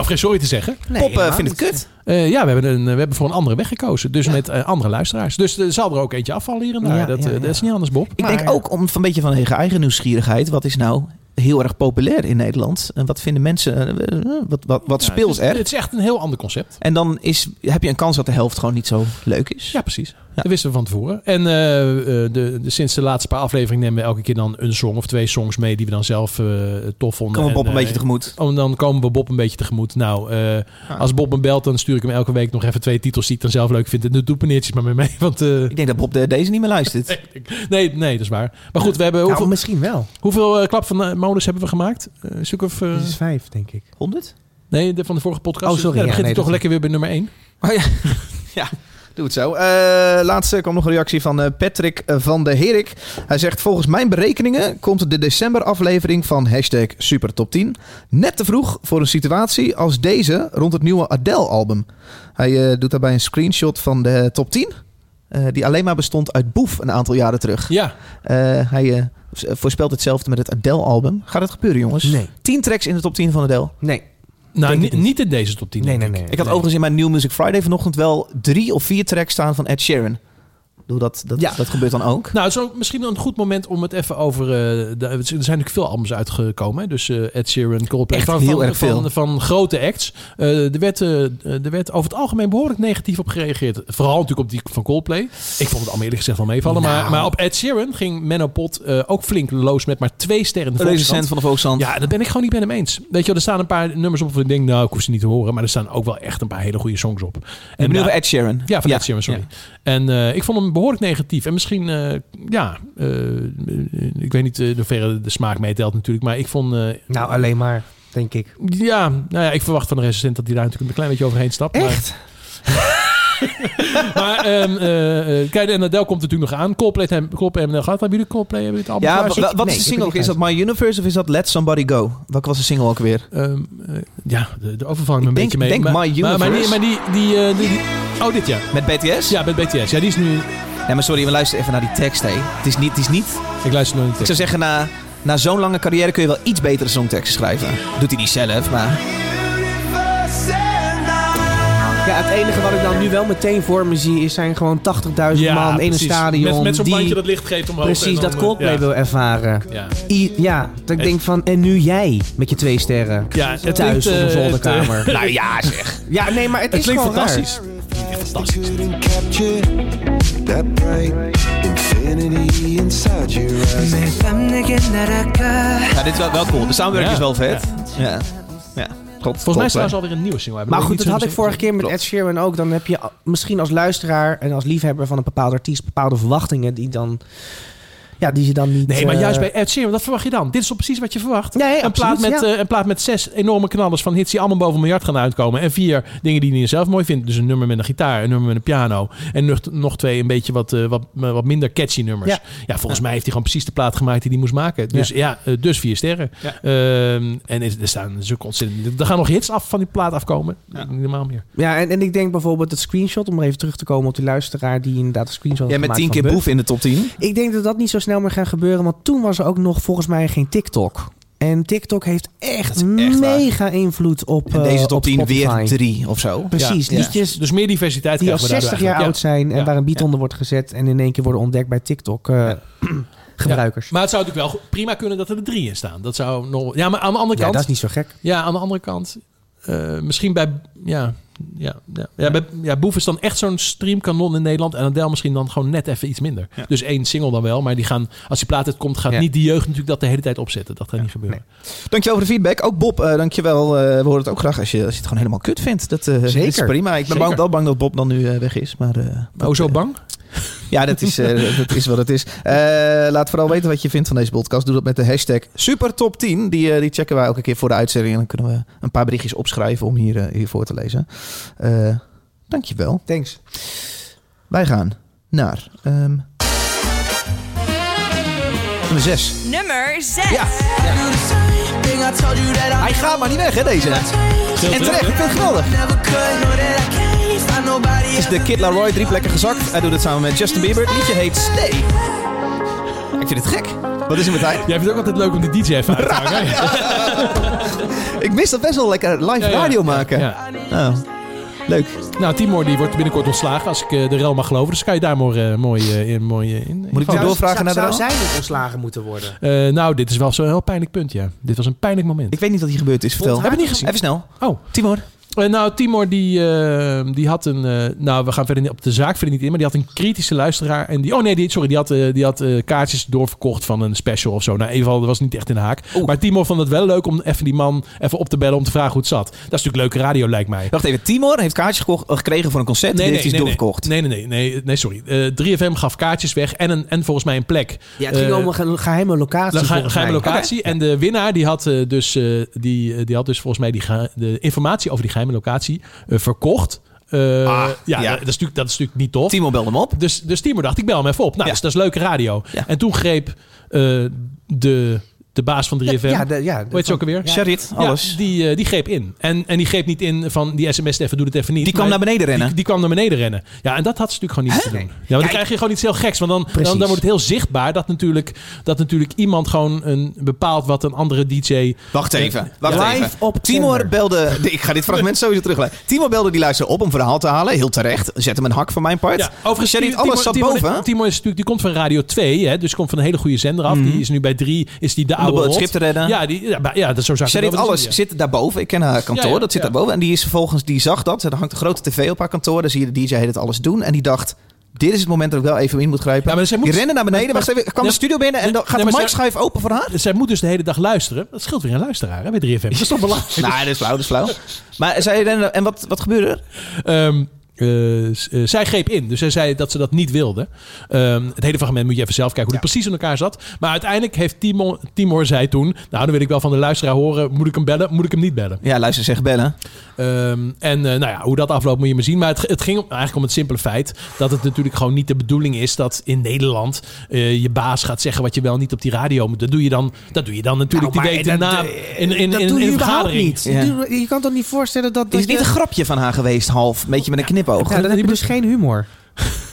S2: of geen sorry te zeggen.
S1: Pop eh, vindt het kut.
S2: Eh, ja, we hebben, een, we hebben voor een andere weg gekozen. Dus met eh, andere luisteraars. Dus er zal er ook eentje afvallen hier en daar.
S4: Ja,
S2: dat,
S4: ja,
S2: eh,
S4: ja.
S2: dat is niet anders, Bob.
S1: Ik
S4: Maar-
S1: denk ook om van een beetje van eigen, eigen nieuwsgierigheid. Wat is nou heel erg populair in Nederland? En wat vinden mensen? eh, eh, Wat, wat, wat
S2: Ja,
S1: speelt
S2: het is-
S1: er?
S2: Het is echt een heel ander concept.
S1: En dan is, heb je een kans dat de helft gewoon niet zo leuk is.
S2: Ja, precies. Dat wisten we van tevoren. En eh, eh, de, de, sinds de laatste paar afleveringen nemen we elke keer dan een song of twee songs mee die we dan zelf eh, tof vonden.
S1: Kom op,
S2: En,
S1: op een
S2: eh,
S1: beetje tegemoet.
S2: om- dan komen we Bob een beetje tegemoet. Nou, eh, als Bob me belt, dan stuur ik hem elke week nog even twee titels die ik dan zelf leuk vind. En doe paneertjes maar mee mee. Want, eh,
S1: Ik denk dat Bob de- deze niet meer luistert.
S2: nee, nee, dat is waar. Maar goed, we hebben
S4: Nou,
S2: hoeveel,
S4: misschien wel.
S2: hoeveel eh, klap van eh, modus hebben we gemaakt? Eh, een stuk of... eh,
S4: Dit is vijf, denk ik.
S1: 100?
S2: nee, de, van de vorige podcast.
S4: Oh,
S2: Dus
S4: sorry,
S2: Dan
S4: ja,
S2: begint
S4: nee,
S2: hij toch
S4: dat-
S2: lekker weer bij nummer 1.
S1: Oh ja. ja. Doe het zo. Eh, laatste kwam nog een reactie van eh, Patrick eh, van de Herik. Hij zegt: Volgens mijn berekeningen komt de december-aflevering van hashtag SuperTop10 net te vroeg voor een situatie als deze rond het nieuwe Adele-album. Hij eh, doet daarbij een screenshot van de top 10, eh, die alleen maar bestond uit Boef een aantal jaren terug.
S2: Ja,
S1: Eh, hij eh, s- voorspelt hetzelfde met het Adele-album. Gaat het gebeuren, jongens?
S4: Nee.
S1: 10 tracks in de top 10 van Adele.
S4: Nee.
S2: nou,
S4: Denk
S2: ni-
S4: het
S2: niet.
S4: niet.
S2: in deze top 10.
S4: Nee,
S2: denk
S4: nee,
S2: ik.
S4: nee.
S1: Ik had overigens in mijn New Music Friday vanochtend wel drie of vier tracks staan van Ed Sheeran. Ik bedoel, dat, dat,
S4: Ja.
S1: dat gebeurt dan ook.
S2: Nou, het is ook misschien een goed moment om het even over... eh, de- er zijn natuurlijk veel albums uitgekomen. Hè? Dus eh, Ed Sheeran, Coldplay.
S1: Echt
S2: van,
S1: heel
S2: van,
S1: erg veel.
S2: Van, van grote acts. Eh, er, werd, eh, er werd over het algemeen behoorlijk negatief op gereageerd. Vooral natuurlijk op die van Coldplay. Ik vond het allemaal eerlijk gezegd wel meevallen.
S4: Nou.
S2: Maar, maar op Ed Sheeran ging Menno Pot eh, ook flink loos met maar twee sterren. in de Volkskrant.
S1: Recensent van de Volkskrant.
S2: Ja, dat ben ik gewoon niet met hem eens. Weet je wel, er staan een paar nummers op waarvan ik denk... nou, ik hoef ze niet te horen. Maar er staan ook wel echt een paar hele goede songs op.
S1: en ik
S2: daar-
S1: bedoel van Ed Sheeran.
S2: ja, van Ed Sheeran, sorry.
S1: Ja.
S2: En eh, ik vond hem behoorlijk negatief. En misschien, eh, ja, eh, ik weet niet eh hoe ver de smaak meetelt natuurlijk. Maar ik vond, eh,
S4: Nou, alleen maar, denk ik.
S2: ja, nou ja, ik verwacht van de recensent dat hij daar natuurlijk een klein beetje overheen stapt.
S4: Echt?
S2: Maar, maar ehm, eh, eh, kijk, en Adele komt natuurlijk nog aan. Coldplay hem, Coldplay hebben we gehad. Hebben jullie Coldplay, hebben jullie het
S1: Ja,
S2: allemaal
S1: wa- wa- wat
S4: nee,
S1: is de
S4: ik
S1: single?
S4: heb
S1: ook?
S4: het
S1: Is dat
S4: niet
S1: My Universe of is dat Let Somebody Go? Welke was de single ook weer?
S2: Ehm, eh, ja, de, de overvang me een
S1: Ik denk-
S2: beetje mee.
S1: denk
S2: maar,
S1: My
S2: maar, maar die,
S1: Universe.
S2: maar die, die, eh, die- die- oh, dit ja.
S1: Met BTS?
S2: Ja, met BTS. Ja, die is nu...
S1: Nee, maar sorry, we luisteren even naar die tekst. Hé. Het, is niet, het is niet...
S2: Ik luister nog niet.
S1: Ik zou zeggen, na, na zo'n lange carrière kun je wel iets betere songteksten schrijven. Doet hij niet zelf, maar...
S4: Ja, het enige wat ik dan nu wel meteen voor me zie... is zijn gewoon 80.000 man in een
S2: precies.
S4: stadion.
S2: Met, met zo'n
S4: die
S2: bandje dat licht geeft omhoog. en
S4: precies
S2: dan,
S4: dat
S2: eh,
S4: Coldplay
S2: ja.
S4: wil ervaren.
S2: Ja.
S4: I- ja, dat ik
S2: Echt.
S4: denk van... en nu jij met je twee sterren.
S2: Ja, het
S4: thuis
S2: klinkt, eh,
S4: op een
S2: het,
S4: zolderkamer.
S1: Nou ja, zeg.
S4: ja, nee, maar het,
S2: Het
S4: is
S2: klinkt
S4: gewoon raar.
S2: fantastisch. Fantastisch.
S8: couldn't capture that bright infinity inside your eyes.
S1: Nou, dit is wel, wel cool. De samenwerking is
S2: Ja.
S1: wel vet. Ja. Ja. Klopt,
S2: Volgens mij is
S1: klopt, hè.
S2: trouwens alweer een nieuwe single. uit,
S4: Maar
S2: ik
S4: goed,
S2: weet
S4: dat
S2: niet
S4: had ik
S2: zo
S4: vorige keer met
S1: Klopt.
S4: Ed Sheeran ook. Dan heb je a- misschien als luisteraar en als liefhebber van een bepaald artiest bepaalde verwachtingen die dan, ja, die je dan niet.
S2: Nee, maar
S4: eh,
S2: juist bij Ed Sheeran, dat verwacht je dan. Dit is toch precies wat je verwacht.
S4: Nee,
S2: een,
S4: absoluut,
S2: plaat met,
S4: ja.
S2: eh, een plaat met zes enorme knallers van hits die allemaal boven een miljard gaan uitkomen. En vier dingen die je zelf mooi vindt. Dus een nummer met een gitaar, een nummer met een piano. En nog, nog twee een beetje wat, eh, wat, eh, wat minder catchy nummers. Ja,
S4: Ja.
S2: volgens mij heeft hij gewoon precies de plaat gemaakt die hij moest maken. Dus ja, eh, dus vier sterren.
S1: Ja.
S2: Ehm, en is- er staan zulke ontzettend... Er gaan nog hits af van die plaat afkomen. Niet normaal meer.
S4: Ja, en, en ik denk bijvoorbeeld het screenshot, om er even terug te komen op die luisteraar die inderdaad een screenshot
S1: Ja,
S4: had
S1: met
S4: gemaakt
S1: 10 keer
S4: van
S1: boef in de top 10.
S4: Ik denk dat dat niet zo snel meer gaat gebeuren, want toen was er ook nog volgens mij geen TikTok. En TikTok heeft echt,
S1: Dat is echt waar.
S4: mega invloed op. eh,
S1: En deze top
S4: op
S1: 10 weer
S4: Spotify.
S1: 3 of zo.
S4: Precies,
S1: Ja.
S4: liedjes
S2: Dus meer diversiteit
S4: die al
S2: krijgen we
S4: 60
S2: daardoor
S4: jaar oud
S2: eigenlijk.
S4: zijn en
S2: Ja.
S4: waar een beat onder wordt gezet en in één keer worden ontdekt bij TikTok eh,
S2: Ja.
S4: gebruikers.
S2: Ja. Maar het zou natuurlijk wel prima kunnen dat er drie in staan. Dat zou nog... Ja, maar aan de andere
S4: Ja,
S2: kant...
S4: dat is niet zo gek.
S2: Ja, aan de andere kant, eh, misschien bij. Ja, ja, ja, ja, bij, ja, Boef is dan echt zo'n streamkanon in Nederland. En Adele misschien dan gewoon net even iets minder. Dus één single dan wel. Maar die gaan, als die plaat uitkomt, gaat
S4: Ja.
S2: niet die jeugd natuurlijk dat de hele tijd opzetten. Dat gaat niet gebeuren.
S1: Dankjewel voor de feedback. Ook Bob, eh, dankjewel. Eh, we horen het ook graag als je, als je het gewoon helemaal kut vindt. Dat eh,
S4: Zeker.
S1: is prima. Ik ben
S2: Zeker.
S1: bang, wel bang dat Bob dan nu eh, weg is. Maar, eh,
S2: Maar
S1: dat,
S2: oh, zo
S1: eh,
S2: bang?
S1: ja, dat is, eh, dat is wat het is. Eh, laat vooral weten wat je vindt van deze podcast. Doe dat met de hashtag SuperTop10. Die, eh, die checken wij elke keer voor de uitzending. En dan kunnen we een paar berichtjes opschrijven om hier, eh, hiervoor te lezen. Eh dankjewel.
S4: Thanks.
S1: Wij gaan naar... ehm nummer 6.
S3: Nummer 6.
S1: Ja. Hij gaat maar niet weg, hè, deze. En terecht, ik vind het geweldig. Het is de Kid Laroi, drie plekken gezakt. Hij doet het samen met Justin Bieber. Het liedje heet Stay. Ik vind het gek. Wat is er met hij?
S2: Jij vindt het ook altijd leuk om die DJ even uit te hangen. hè?
S1: Ik mis dat best wel lekker live
S2: Ja, ja,
S1: radio
S2: ja,
S1: maken.
S2: ja.
S1: Oh, leuk.
S2: Nou, Timor die wordt binnenkort ontslagen als ik eh, de rel mag geloven. Dus kan je daar mooi, eh, mooi, eh, in, mooi eh, in.
S1: Moet ik nou
S4: Zou-
S1: doorvragen naar de
S4: zou,
S1: rand?
S4: zou zij niet ontslagen moeten worden?
S2: Eh, nou, dit is wel zo'n heel pijnlijk punt, ja. Dit was een pijnlijk moment.
S1: Ik weet niet wat hier gebeurd is. Vertel.
S4: Hebben we
S1: niet gezien. Even snel.
S2: Oh,
S1: Timor.
S2: Eh, nou, Timor die, eh, die had een... eh, nou, we gaan verder niet- op de zaak verder niet in. Maar die had een kritische luisteraar. En die, oh nee, die, sorry. Die had, eh, die had eh, kaartjes doorverkocht van een special of zo. Nou, in ieder geval, dat was niet echt in de haak. Maar Timor vond het wel leuk om even die man even op te bellen. Om te vragen hoe het zat. Dat is natuurlijk leuke radio, lijkt mij.
S1: Wacht even, Timor heeft kaartjes gekocht- gekregen voor een concert. Nee, die heeft hij doorverkocht.
S2: Nee, nee, nee, nee, nee sorry. Eh, 3FM gaf kaartjes weg en, een, en volgens mij een plek.
S4: Ja, het ging
S2: Eh,
S4: om een ge- geheime locatie.
S2: een ge-
S4: volgens
S2: geheime
S4: mij.
S2: locatie. En de winnaar die had, eh, dus, eh, die, eh, die had dus volgens mij die ge- de informatie over die geheime locatie eh, verkocht. Eh,
S4: Ah,
S2: ja,
S1: ja.
S2: Dat, is natuurlijk, dat is natuurlijk niet tof.
S1: Timor belde hem op.
S2: Dus, dus Timo dacht, ik bel hem even op. Nou,
S1: Ja.
S2: dus dat is leuke radio.
S1: Ja.
S2: En toen greep eh, de, de baas van 3FM...
S4: Ja, de- ja, de-
S2: hoe heet ze ook alweer?
S1: Charit, alles.
S2: Ja, die, eh, die greep in. En, en die greep niet in van die sms even, doe het even niet.
S1: Die kwam
S2: Maar
S1: naar beneden rennen.
S2: Die, die kwam naar beneden rennen. Ja, en dat had ze natuurlijk gewoon niet te doen. Ja, want dan krijg je gewoon iets heel geks. Want dan, dan, dan wordt het heel zichtbaar dat natuurlijk, dat natuurlijk iemand gewoon een, bepaalt wat een andere DJ...
S1: Wacht even. Wacht
S4: Ja.
S1: even.
S4: Live op
S1: Timor
S4: zender.
S1: belde. Ik ga dit fragment sowieso terugleggen. Timor belde die luister op om verhaal te halen. Heel terecht. Zet hem een hak van mijn part.
S2: Ja, overigens,
S1: Sherry,
S2: Timo-
S1: alles zat
S2: Timo-
S1: boven. hè?
S2: Timo is natuurlijk, die komt van Radio 2, hè, dus komt van een hele goede zender af.
S1: Mhm.
S2: Die is nu bij 3, is die de oude
S1: het
S2: hot.
S1: schip te redden.
S2: Ja, die, ja, maar- ja dat zo zou ik het
S1: Sherrit
S2: wel willen
S1: Alles
S2: zien, ja.
S1: zit daarboven. Ik ken haar kantoor,
S2: Ja, ja,
S1: dat zit
S2: ja.
S1: daarboven. En die is vervolgens, die zag dat. Er hangt een grote tv op haar kantoor. Daar zie je de DJ het alles doen. En die dacht, dit is het moment dat ik wel even in moet grijpen.
S2: Ja, maar zij moet-
S1: Die rennen naar beneden. Wacht even, ik kwam
S2: Ja,
S1: de studio binnen en
S2: nee,
S1: dan gaat
S2: nee,
S1: de
S2: maar
S1: mic
S2: zij-
S1: schuif open voor haar.
S2: Zij moet dus de hele dag luisteren. Dat scheelt weer een luisteraar hè, bij 3FM. Dat is toch belangrijk?
S1: Nou, dat is flauw, dat is flauw. Maar zij rennen, en wat, wat gebeurde er?
S2: Ehm, eh, s- eh, zij greep in. Dus zij zei dat ze dat niet wilde. Ehm, het hele fragment moet je even zelf kijken hoe het precies in elkaar zat. Maar uiteindelijk heeft Timor, Timor zei toen... Nou, dan wil ik wel van de luisteraar horen. Moet ik hem bellen? Moet ik hem niet bellen?
S1: Ja, luister, zeg bellen.
S2: Ehm, en eh, nou ja, hoe dat afloopt moet je maar zien. Maar het, het ging om- eigenlijk om het simpele feit... dat het natuurlijk gewoon niet de bedoeling is... dat in Nederland eh, je baas gaat zeggen... wat je wel niet op die radio moet. Dat doe je dan, dat doe je dan natuurlijk
S4: Nou,
S2: die
S4: maar
S2: week daarna...
S4: dat-
S2: in, in, in,
S4: dat
S2: in
S4: doe je
S2: een
S4: überhaupt
S2: vergadering.
S4: niet.
S1: Ja.
S4: Doe- Je kan toch niet voorstellen dat... dat
S1: Is het niet
S4: je-
S1: een grapje van haar geweest, half? Een beetje met een knipoog.
S4: Ja, dan heb je dus geen humor.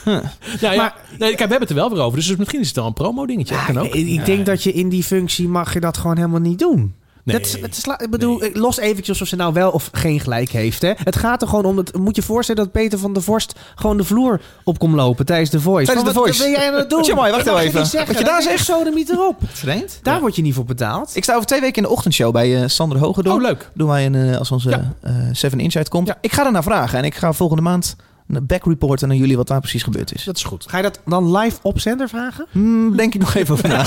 S2: Nou ja,
S4: Maar-
S2: nee, kijk, we hebben het er wel weer over. Dus misschien is het wel een promo-dingetje.
S4: Ja, eh,
S2: Dat kan ook.
S4: ik- Ik denk dat je in die functie mag je dat gewoon helemaal niet doen.
S2: Nee.
S4: Dat, dat sla- ik bedoel, los eventjes of ze nou wel of geen gelijk heeft. Hè. Het gaat er gewoon om, dat, moet je voorstellen dat Peter van der Vorst gewoon de vloer op komt lopen tijdens de Voice. Van,
S1: Tijdens The
S4: wat-
S1: Voice.
S4: Wat ben jij aan het doen?
S1: Tja, mooi, wacht
S4: Dat mag
S1: even.
S4: je niet zeggen.
S1: Wat je daar
S4: Dat is zo de mieter op.
S1: Vreemd.
S4: Daar word je niet voor betaald.
S1: Ik sta over twee weken in de ochtendshow bij eh, Sander Hogedoorn.
S2: Oh, leuk.
S1: Doen wij een, eh, als onze
S2: Ja.
S1: eh 7 Insight komt.
S2: Ja.
S1: Ik ga daarna vragen en ik ga volgende maand een backreporten naar jullie wat daar precies gebeurd is.
S2: Dat is goed.
S4: Ga je dat dan live op zender vragen?
S1: Hmm, denk ik nog even over na.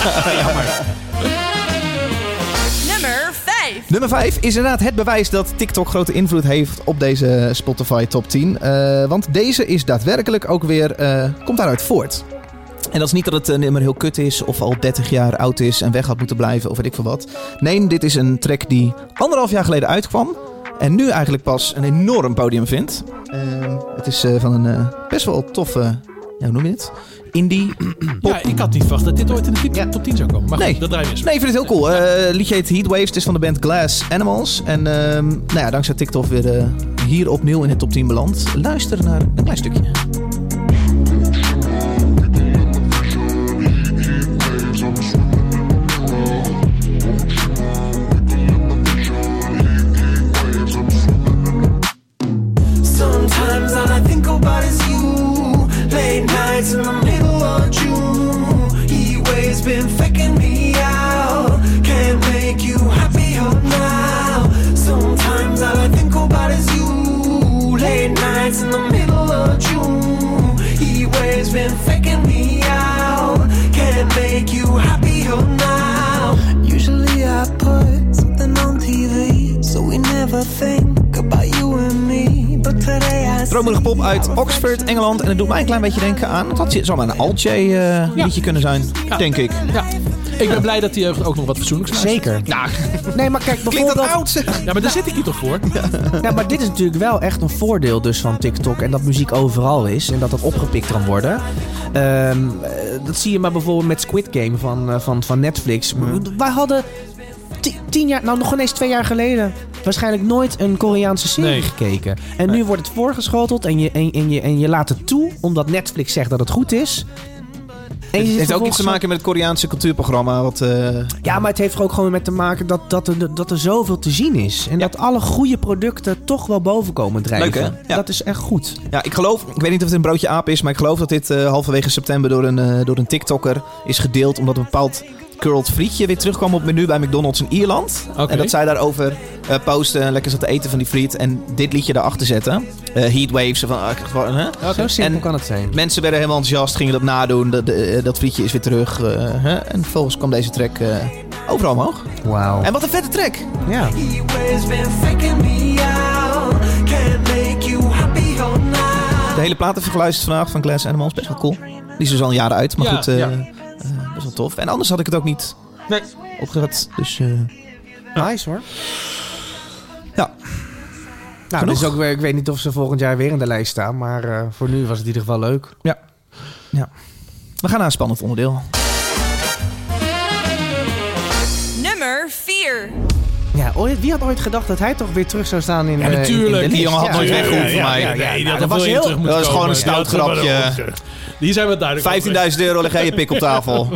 S3: Nummer 5.
S1: Nummer 5 is inderdaad het bewijs dat TikTok grote invloed heeft op deze Spotify top 10. Eh, want deze is daadwerkelijk ook weer, eh, komt daaruit voort. En dat is niet dat het eh, nummer heel kut is of al 30 jaar oud is en weg had moeten blijven of weet ik veel wat. Nee, dit is een track die anderhalf jaar geleden uitkwam. En nu eigenlijk pas een enorm podium vindt. Eh, het is eh, van een eh, best wel toffe, ja, hoe noem je het? Indie pop
S2: Ja, ik had niet verwacht dat dit ooit in de tip-
S1: Ja.
S2: top 10 zou komen. Maar goed,
S1: Nee.
S2: dat draai je mis.
S1: Dus Nee, ik vind het heel cool. Eh, Het liedje heet Heatwaves. Het is van de band Glass Animals. En ehm, nou ja, dankzij TikTok weer eh, hier opnieuw in de top 10 beland. Luister naar een klein stukje.
S9: Sometimes all I think about is you. Late nights in the middle of June. He waves been faking me out. Can't make you happier now. Sometimes all I think about is you. Late nights in the middle of June. He waves been faking me out. Can't make you happier now. Usually I put something on TV, so we never think about you and me. But today I
S1: Dromerige pop uit Oxford, Engeland. En het doet mij een klein beetje denken aan... Dat had- zou maar een Altje eh, liedje kunnen zijn, denk ik.
S2: Ja. Ik ben blij dat die jeugd ook nog wat verzoenlijks is.
S4: Zeker.
S1: Nou,
S4: Nee, maar kijk,
S1: klinkt dat
S4: bijvoorbeeld...
S1: oud? zeg?
S2: Ja, maar daar zit ik hier toch voor?
S4: Ja, maar dit is natuurlijk wel echt een voordeel dus van TikTok. En dat muziek overal is. En dat dat opgepikt kan worden. Ehm, eh, dat zie je maar bijvoorbeeld met Squid Game van, eh, van, van Netflix.
S1: Mm.
S4: Wij hadden ti- tien jaar, nou nog ineens twee jaar geleden... waarschijnlijk nooit een Koreaanse serie
S2: Nee.
S4: gekeken. En nu wordt het voorgeschoteld en je, en, en, je, en je laat het toe... omdat Netflix zegt dat het goed is. En je
S1: Het
S4: zit
S1: heeft ook iets
S4: vervolgens
S1: te
S4: zo-
S1: maken met het Koreaanse cultuurprogramma. Wat, eh,
S4: ja, maar het heeft er ook gewoon mee te maken dat, dat, er, dat er zoveel te zien is. En dat alle goede producten toch wel boven komen drijven.
S1: Leuk, hè? Ja.
S4: Dat is echt goed.
S1: Ja, ik geloof, ik weet niet of het een broodje aap is, maar ik geloof dat dit eh, halverwege september door een, eh, door een TikToker is gedeeld. Omdat een bepaald curled frietje weer terugkwam op het menu bij McDonald's in Ierland.
S2: Oké.
S1: En dat zij daarover eh, posten en lekker zat te eten van die friet. En dit liedje daarachter zetten. Eh heatwaves. Van, ah, ik- gewoon, hè?
S4: Zo simpel
S1: En-
S4: kan het zijn.
S1: Mensen werden helemaal enthousiast, gingen dat nadoen. Dat, eh, dat frietje is weer terug. eh, hè? En vervolgens kwam deze track eh, overal omhoog.
S4: Wauw.
S1: En wat een vette track.
S4: Ja.
S9: He always been faking me out. Can't make you happy all night.
S1: De hele plaat heb ik geluisterd vandaag van Glass Animals. Best wel cool. Die is dus al jaren uit, maar
S2: Ja,
S1: goed. eh,
S2: ja.
S1: eh, best wel tof. En anders had ik het ook niet
S2: Nee.
S1: opgehad. Dus eh,
S4: Nice hoor.
S1: ja,
S4: Nou,
S1: Genoeg?
S4: dus ook, weer- ik weet niet of ze volgend jaar weer in de lijst staan. Maar eh, voor nu was het in ieder geval leuk.
S1: we gaan naar een spannend onderdeel.
S3: Nummer 4.
S4: Ja, ooit- wie had ooit gedacht dat hij toch weer terug zou staan in
S2: Ja,
S4: eh, in- in de
S2: natuurlijk.
S4: lijst?
S1: die jongen had
S4: Ja,
S1: nooit
S4: ja,
S1: weg
S4: ja,
S1: hoeven,
S4: ja,
S1: maar-
S4: ja, ja, ja. Dat was
S2: wil je
S4: heel...
S2: terug moeten
S1: dat was gewoon
S2: komen.
S1: een stout
S2: Ja, dat
S1: grapje.
S2: was wel een- Die zijn we duidelijk over.
S1: 15.000 euro leg jij je pik op tafel.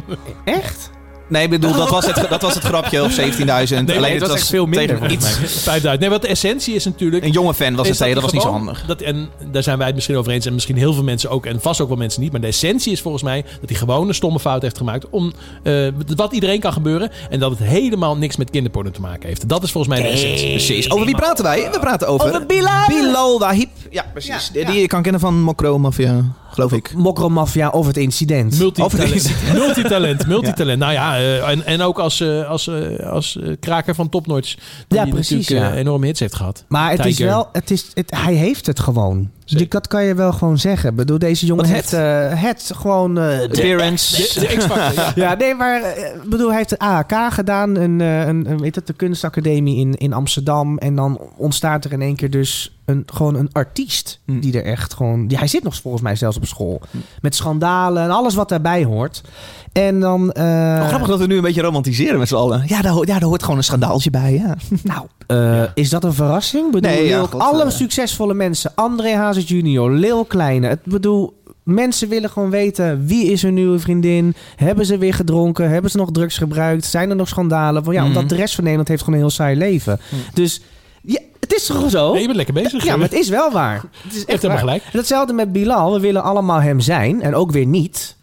S4: Echt?
S1: Nee, ik bedoel, dat was het, dat was het grapje. Of 17.000.
S2: Nee,
S1: Alleen
S2: nee,
S1: het
S2: dat
S1: was
S2: was echt veel minder.
S1: tegen
S2: volgens
S1: iets.
S2: mij. 5000. Nee, wat de essentie is natuurlijk...
S1: Een jonge fan was het
S2: is
S1: tegen, dat was niet zo
S2: gewoon-
S1: handig.
S2: Dat, en daar zijn wij het misschien over eens. En misschien heel veel mensen ook. En vast ook wel mensen niet. Maar de essentie is volgens mij dat hij gewoon een stomme fout heeft gemaakt. Om eh, wat iedereen kan gebeuren. En dat het helemaal niks met kinderporno te maken heeft. Dat is volgens mij de essentie.
S1: Precies. Over wie praten wij? We praten over...
S4: Over Bilal.
S1: Bilal Wahib. Ja, precies. Die- Die je kan kennen van Mokro Mafia, geloof ik.
S4: Mokromafia of het incident.
S1: Over
S2: Multitalent.
S1: deze-
S2: Multitalent. Multitalent. Nou ja, eh, en, en ook als, eh, als, eh, als eh, kraker van topnotch. Die
S4: Ja, precies,
S2: natuurlijk eh,
S4: ja.
S2: enorme hits heeft gehad.
S1: Oh.
S4: maar het is
S2: Tiger.
S4: wel, het is, het, hij heeft het gewoon. Je, dat kan je wel gewoon zeggen. Ik bedoel, deze jongen
S1: Wat
S4: heeft
S1: het?
S4: eh, het gewoon. eh,
S1: Appearance.
S2: De X-Factor. ja.
S4: ja, nee, maar eh, ik bedoel, hij heeft de AHK gedaan, een, eh, een, een, weet dat, de kunstacademie in, in Amsterdam. En dan ontstaat er in één keer dus een, gewoon een artiest
S1: Hm.
S4: die er echt gewoon... Die, hij zit nog volgens mij zelfs op school. Met schandalen en alles wat daarbij hoort. En dan... eh,
S1: Wel Oh, grappig dat we nu een beetje romantiseren met z'n allen. Ja, daar, ho- ja, daar hoort gewoon een schandaaltje bij, ja.
S4: Nou, eh, is dat een verrassing? Ik bedoel,
S1: Nee, ja,
S4: Lil-
S1: God,
S4: alle
S1: eh.
S4: succesvolle mensen. André Hazes junior, Lil Kleine. Ik bedoel, mensen willen gewoon weten... wie is hun nieuwe vriendin? Hebben ze weer gedronken? Hebben ze nog drugs gebruikt? Zijn er nog schandalen? Want ja,
S1: Mhm.
S4: omdat de rest van Nederland heeft gewoon een heel saai leven. Dus ja, het is toch zo?
S2: Nee, je bent lekker bezig.
S4: ja, maar het is wel waar. Het is
S2: echt helemaal
S4: waar.
S2: gelijk.
S4: En Datzelfde met Bilal. We willen allemaal hem zijn. En ook weer niet.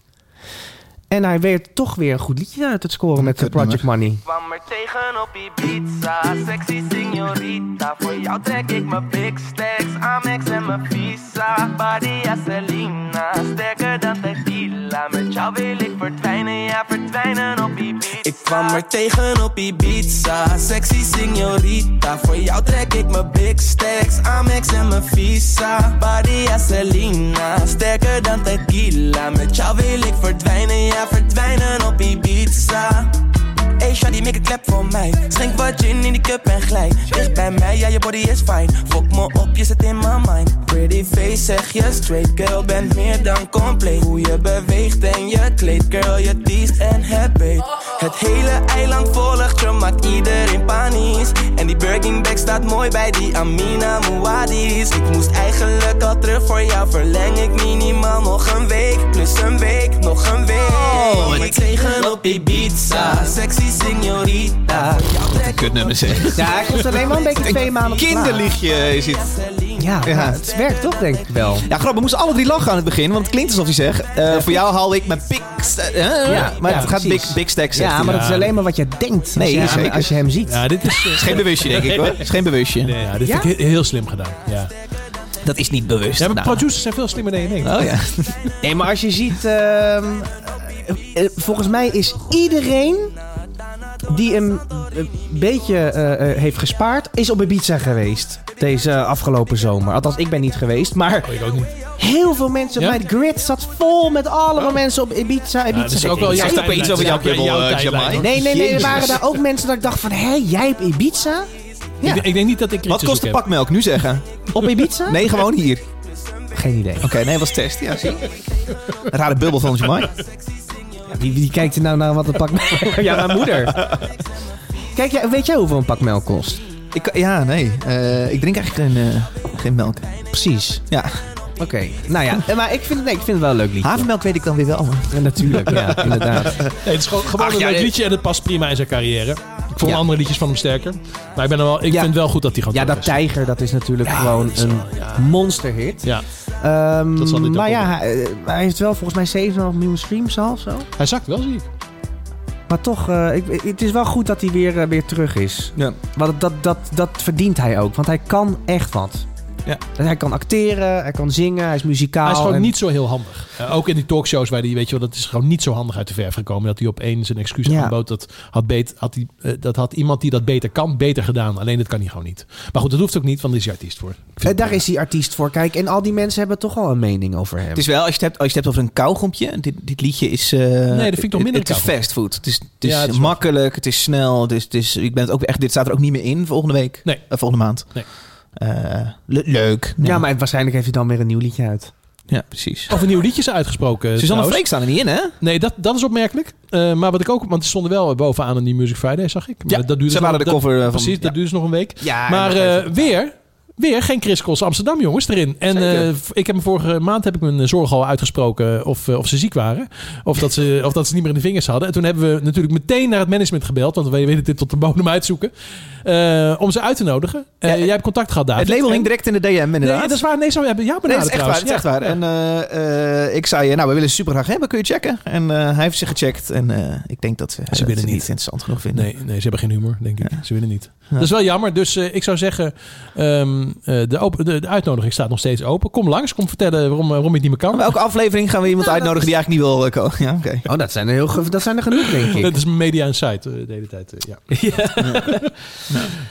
S4: En hij weet toch weer een goed liedje uit het scoren met eh,
S1: kutnummer.
S4: Project Money.
S10: kwam er tegen op Ibiza, sexy signorita. Voor jou trek ik mijn big stacks, Amex en mijn visa. Badia Selena, sterker dan tequila. Met jou wil ik verdwijnen, ja verdwijnen op Ibiza. Ik kwam er tegen op Ibiza, sexy signorita. Voor jou trek ik mijn big stacks, Amex en mijn visa. Badia Selena, sterker dan tequila. Met jou wil ik verdwijnen, ja verdwijnen op Ibiza. Hey shawty, make a clap voor mij Schenk wat gin in die cup en glij Dicht bij mij, ja je body is fine Fok me op, je zit in mijn mind Pretty face, zeg je straight Girl, bent meer dan compleet Hoe je beweegt en je kleed Girl, je teest en het beet Het hele eiland volgt je Maakt iedereen panisch En die Birkin bag staat mooi bij die Amina Mouadis Ik moest eigenlijk al terug voor jou Verleng ik minimaal nog een week Plus een week, nog een week Oh, ik tegen op Ibiza Sexy signorita
S1: Kutnummer zeg.
S4: Ja, hij komt alleen maar een beetje twee maanden op de plaat.
S1: Kinderliedje is het.
S4: Ja,
S1: Ja.
S4: maar het werkt toch, denk ik wel.
S1: Ja, grappig. We moesten alle drie lachen aan het begin. Want het klinkt alsof hij zegt... eh, voor jou haal ik mijn big... sta- eh,
S4: Ja,
S1: maar
S4: ja,
S1: het gaat
S4: precies.
S1: big, big stack, zegt
S4: Ja,
S1: hij.
S4: maar dat is alleen maar wat je denkt
S1: Nee,
S4: als, je,
S1: zeker.
S4: hem, als je hem ziet.
S2: Ja, dit is... eh,
S1: Geen bewustje, denk ik hoor. Het is geen bewustje.
S2: nee, ja, dit
S4: Ja?
S2: vind ik he- heel slim gedaan. Ja.
S1: Dat is niet bewust.
S2: Ja, maar
S1: Nou.
S2: producers zijn veel slimmer dan je denkt.
S1: Oh ja.
S4: Nee, maar als je ziet... ehm, eh, eh, volgens mij is iedereen die een eh, beetje eh, eh, heeft gespaard... is op Ibiza geweest deze afgelopen zomer. Althans, ik ben niet geweest, maar
S2: Oh, Ik ook niet.
S4: heel veel mensen op
S2: Ja?
S4: mijn grid zat vol met allemaal
S1: Oh.
S4: mensen op Ibiza. Ibiza.
S2: Ja, dat is ook wel
S1: Zeg
S2: jouw
S1: toch
S2: tijdlijn.
S1: iets over jouw
S2: Ja,
S1: kibbel, eh,
S2: tijdlijn,
S1: Jamai.
S2: hoor.
S4: Nee, nee, nee, er
S1: dus- Jezus.
S4: waren daar ook mensen dat ik dacht van... hé, jij hebt Ibiza? Ja.
S2: Ik, ik denk niet dat ik
S1: Wat
S2: iets
S1: kost een
S2: heb.
S1: pak melk? Nu zeggen.
S4: Op Ibiza?
S1: Nee, gewoon hier. Oké,
S4: Geen idee.
S1: nee, was test. Ja, zie. Rare bubbel van Jamai.
S4: Wie, wie kijkt er nou naar wat een pak melk... ja, mijn moeder. Kijk, jij- weet jij hoeveel een pak melk kost?
S1: Ik, kan- ja, nee. Eh, ik drink eigenlijk geen, eh, geen melk.
S4: Precies.
S1: Ja,
S4: Oké. Nou ja, eh, maar ik vind, het, nee, ik vind het wel een leuk liedje.
S1: havermelk weet ik dan weer wel. maar-
S4: Ja, natuurlijk, ja, inderdaad.
S2: Nee, het is gewoon, gewoon
S1: Ach,
S2: een
S1: ja,
S2: leuk
S1: nee.
S2: liedje en het past prima in zijn carrière. Ik vond
S4: Ja.
S2: andere liedjes van hem sterker. Maar ik, ben er wel, ik
S4: Ja.
S2: vind wel goed dat hij gaat
S4: Ja, dat Tijger, dat is natuurlijk gewoon een monsterhit.
S2: Ja,
S4: Ehm,
S2: Dat zal dit ook
S4: maar ja,
S2: wel
S4: hij, eh, hij heeft wel volgens mij 7,5 miljoen streams al of zo.
S2: hij zakt wel, zie ik.
S4: Maar toch, eh, ik, ik- het is wel goed dat hij weer, eh, weer terug is.
S1: Ja.
S4: Want dat, dat, dat verdient hij ook. Want hij kan echt wat.
S2: Ja.
S4: En hij kan acteren, hij kan zingen, hij is muzikaal.
S2: Hij is gewoon
S4: en-
S2: niet zo heel handig. Eh, ook in die talkshows waar hij, weet je wel, dat is gewoon niet zo handig uit de verf gekomen. Dat hij opeens een excuus
S4: Ja.
S2: aanbood. Dat had, bet- had hij, eh, dat had iemand die dat beter kan, beter gedaan. Alleen dat kan hij gewoon niet. Maar goed, dat hoeft ook niet, want daar is hij artiest voor. Ik vind
S4: Eh, daar is hij artiest voor. Kijk, en al die mensen hebben toch al een mening over hem.
S1: Het is wel, als je het hebt, als je het hebt over een kauwgompje. Dit, dit liedje is... eh nee,
S2: vind ik nog minder
S1: Het is
S2: een kauwgom.
S1: fastfood. Het is, het is,
S2: Ja, het is wel-
S1: makkelijk, het is snel. Het is, het is, ik ben het ook echt, dit staat er ook niet meer in volgende week.
S2: Nee.
S1: Eh, volgende maand.
S2: Nee.
S1: Eh, le- leuk. Nee.
S4: Ja, maar waarschijnlijk heeft hij dan weer een nieuw liedje uit.
S1: Ja, precies.
S2: Over nieuwe liedjes uitgesproken.
S1: Suzanne
S2: Eh, trouwens.
S1: Freek staan er niet in, hè?
S2: Nee, dat, dat is opmerkelijk. Eh, maar wat ik ook, want ze stonden wel bovenaan in die Music Friday, zag ik.
S1: Ja,
S2: Maar dat duurde
S1: ze
S2: dus
S1: waren
S2: nog-
S1: de
S2: dat-
S1: cover, eh, van-
S2: Precies,
S1: ja.
S2: dat duurde dus nog een week.
S1: Ja,
S2: maar
S1: en nog
S2: eh,
S1: even-
S2: weer, weer geen Chris Cross Amsterdam, jongens, erin. En
S1: Zeker.
S2: eh, v- ik heb hem vorige maand heb ik mijn eh, zorg al uitgesproken of, eh, of ze ziek waren. Of dat, ze, of dat ze niet meer in de vingers hadden. En toen hebben we natuurlijk meteen naar het management gebeld, want we weten dit tot de bodem uitzoeken. eh, om ze uit te nodigen. Eh,
S1: Ja,
S2: jij hebt contact gehad, David.
S1: het label
S2: En-
S1: hing direct in de DM, inderdaad.
S2: Nee, dat is waar. Nee, zo hebben jou
S1: Nee,
S2: benaderd
S1: dat is echt waar.
S2: trouwens.
S1: Dat is echt
S2: Ja,
S1: waar.
S2: ja.
S1: En eh, eh, ik zei, eh, nou, we willen ze super graag hebben. Kun je checken? En eh, hij heeft ze gecheckt. En eh, ik denk dat ze, dat ze
S2: willen
S1: het niet
S2: niet.
S1: interessant genoeg vinden.
S2: Nee, nee, ze hebben geen humor, denk ik. Ze willen niet. Dat is wel jammer. Dus eh, ik zou zeggen, ehm, eh, de, open, de, de uitnodiging staat nog steeds open. Kom langs, kom vertellen waarom, eh, waarom je het niet meer kan.
S1: Maar elke aflevering gaan we iemand
S2: Nou,
S1: uitnodigen die eigenlijk niet wil eh, komen. Ja, oké.
S4: Oh, dat zijn er, heel, ge- dat zijn er genoeg, denk ik.
S2: Dat is media en site eh, de hele tijd. eh, ja.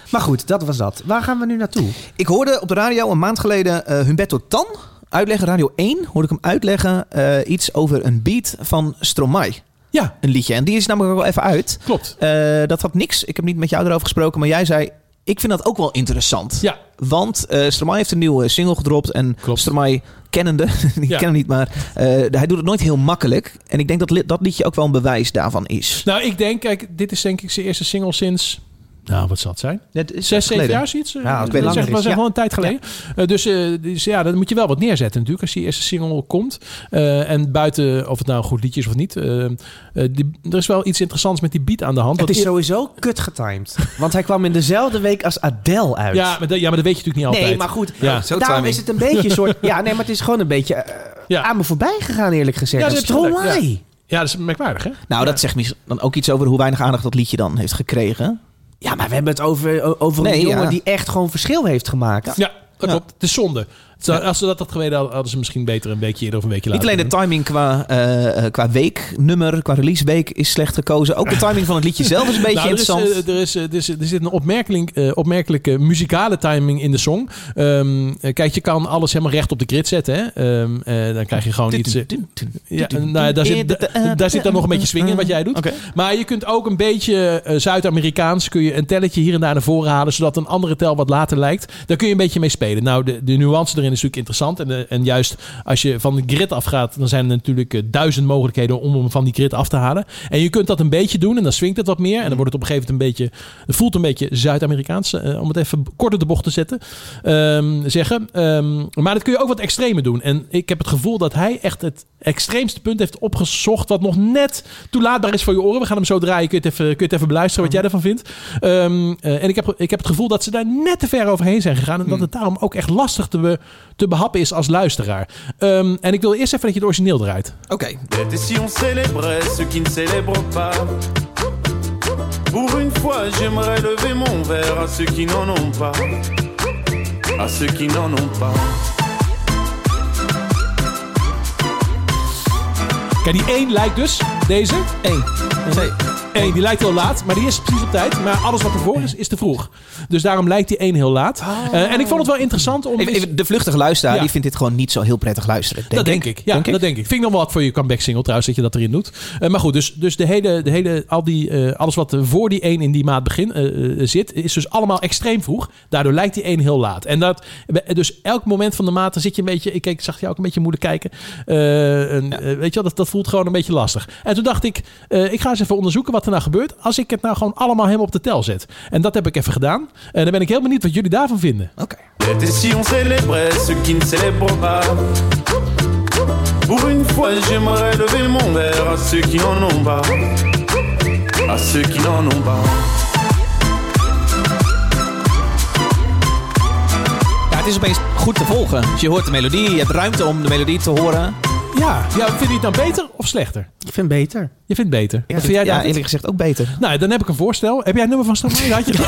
S4: Maar goed, dat was dat. Waar gaan we nu naartoe?
S1: Ik hoorde op de radio een maand geleden eh Humberto Tan uitleggen. Radio 1 hoorde ik hem uitleggen eh, iets over een beat van Stromae.
S2: ja,
S1: Een liedje. En die is namelijk ook wel even uit.
S2: klopt.
S1: Eh, dat had niks. Ik heb niet met jou erover gesproken. Maar jij zei, ik vind dat ook wel interessant.
S2: Ja,
S1: Want eh Stromae heeft een nieuwe single gedropt. En
S2: Klopt.
S1: Stromae kennende, die
S2: Ja.
S1: ken hem niet, maar eh, hij doet het nooit heel makkelijk. En ik denk dat li- dat liedje ook wel een bewijs daarvan is.
S2: nou ik denk, kijk, dit is denk ik zijn eerste single sinds... Nou, wat zal het zijn?
S1: Dat is
S2: Zes, zeven
S1: geleden.
S2: jaar, zoiets? Eh,
S4: Ja, als het
S2: zeg,
S4: langer
S2: maar,
S4: is,
S2: zeg
S4: ja.
S2: wel een tijd geleden. Eh, dus, eh, dus ja, dan moet je wel wat neerzetten natuurlijk als die eerste single komt. Eh, en buiten of het nou een goed liedje is of niet. eh, eh, die- er is wel iets interessants met die beat aan de hand.
S4: Het
S2: Want
S4: is sowieso kut getimed. Want hij kwam in dezelfde week als Adele uit.
S2: Ja maar, dat, ja, maar dat weet je natuurlijk niet altijd.
S4: nee, maar goed. eh,
S2: Ja.
S1: Zo
S4: Daarom
S1: timing.
S4: is het een beetje een soort... Ja, nee, maar het is gewoon een beetje eh,
S2: Ja.
S4: aan me voorbij gegaan, eerlijk gezegd.
S2: Ja,
S4: Ja,
S2: dat heb je
S4: Stromae.
S2: gelijk, Ja, dat is merkwaardig, hè?
S1: Nou, dat zegt misschien dan ook iets over hoe weinig aandacht dat liedje dan heeft gekregen.
S4: Ja, maar we hebben het over, o- over
S1: Nee,
S4: een jongen
S1: ja.
S4: die echt gewoon verschil heeft gemaakt.
S2: Ja, dat
S1: Ja.
S2: klopt. Het is zonde. Het zou- Als ze dat had geweten, hadden hadden ze misschien beter een weekje eerder of een weekje
S1: Niet
S2: later.
S1: alleen de timing qua, eh eh, qua weeknummer, qua releaseweek is slecht gekozen. Ook de timing van het liedje zelf is een beetje
S2: Nou, er, is,
S1: interessant.
S2: eh, er, is, eh, er, is, er zit een opmerkelijk, eh, opmerkelijke muzikale timing in de song. Ehm, eh, kijk, je kan alles helemaal recht op de grid zetten. Hè? Ehm, eh, dan krijg je gewoon iets... eh, ja, nou, ja, daar, zit, daar- daar zit dan nog een beetje swing in wat jij doet.
S1: Oké.
S2: Maar je kunt ook een beetje eh, Zuid-Amerikaans... kun je een telletje hier en daar naar voren halen... zodat een andere tel wat later lijkt. Daar kun je een beetje mee spelen. Nou, de, de nuance erin is natuurlijk interessant. En, eh, en juist als je van de grid afgaat... dan zijn er natuurlijk eh, duizend mogelijkheden... om hem van die grid af te halen. En je kunt dat een beetje doen en dan swingt het wat meer. En dan wordt het op een gegeven moment een beetje... Het voelt een beetje Zuid-Amerikaans... eh, om het even kort op de bocht te zetten. ehm, zeggen. Ehm, maar dat kun je ook wat extremer doen. En ik heb het gevoel dat hij echt het extreemste punt heeft opgezocht... wat nog net toelaatbaar is voor je oren. We gaan hem zo draaien. Kun je het even, kun je het even beluisteren
S1: Oh.
S2: wat jij ervan vindt. Ehm, eh, en ik heb, ik heb het gevoel dat ze daar net te ver overheen zijn gegaan.
S1: Hmm.
S2: En dat het daarom ook echt lastig te, be- te behappen is als luisteraar. Ehm, en ik wil eerst even dat je het origineel draait.
S1: Oké,
S11: Et si on célébrait ceux qui ne célèbrent pas Pour une fois, j'aimerais lever mon verre à ceux qui n'en ont pas. À ceux qui n'en ont pas.
S2: Kijk, die één lijkt dus. Deze.
S1: één, twee.
S2: één die lijkt heel laat, maar die is precies op tijd. Maar alles wat ervoor is, is te vroeg. Dus daarom lijkt die één heel laat. Eh, en ik vond het wel interessant om...
S1: Oh. Even-
S2: eens-
S1: even de vluchtige luisteraar
S2: Ja.
S1: die vindt dit gewoon niet zo heel prettig luisteren. Denk
S2: dat denk ik. Ja,
S1: Denk ik?
S2: dat denk ik. Vind ik nog wel wat voor je comeback single trouwens, dat je dat erin doet. Eh, maar goed, dus, dus de hele, de hele, al die, eh, alles wat er voor die 1 in die maat begin, eh, eh, zit, is dus allemaal extreem vroeg. Daardoor lijkt die 1 heel laat. En dat, dus elk moment van de maat dan zit je een beetje, ik, keek- ik zag jou ook een beetje moeilijk kijken. Eh, en, eh, weet je wel, dat, dat voelt gewoon een beetje lastig. En toen dacht ik, eh, ik ga eens even onderzoeken wat er nou gebeurt als ik het nou gewoon allemaal helemaal op de tel zet. En dat heb ik even gedaan. En dan ben ik heel benieuwd wat jullie daarvan vinden.
S1: Oké.
S11: Et si on célébrait ceux qui ne célèbrent pas Pour une fois, j'aimerais lever mon verre à ceux qui n'en ont pas. À ceux qui n'en ont pas.
S1: Ja, het is opeens goed te volgen. Dus je hoort de melodie, je hebt ruimte om de melodie te horen.
S2: Ja. ja, vind je het dan beter of slechter?
S4: Ik vind beter.
S2: Je vindt beter. Wat
S1: vind
S2: vind jij
S1: ja,
S2: dan?
S1: eerlijk gezegd ook beter.
S2: Nou, dan heb ik een voorstel. Heb jij het nummer van Stromae? Had je dat?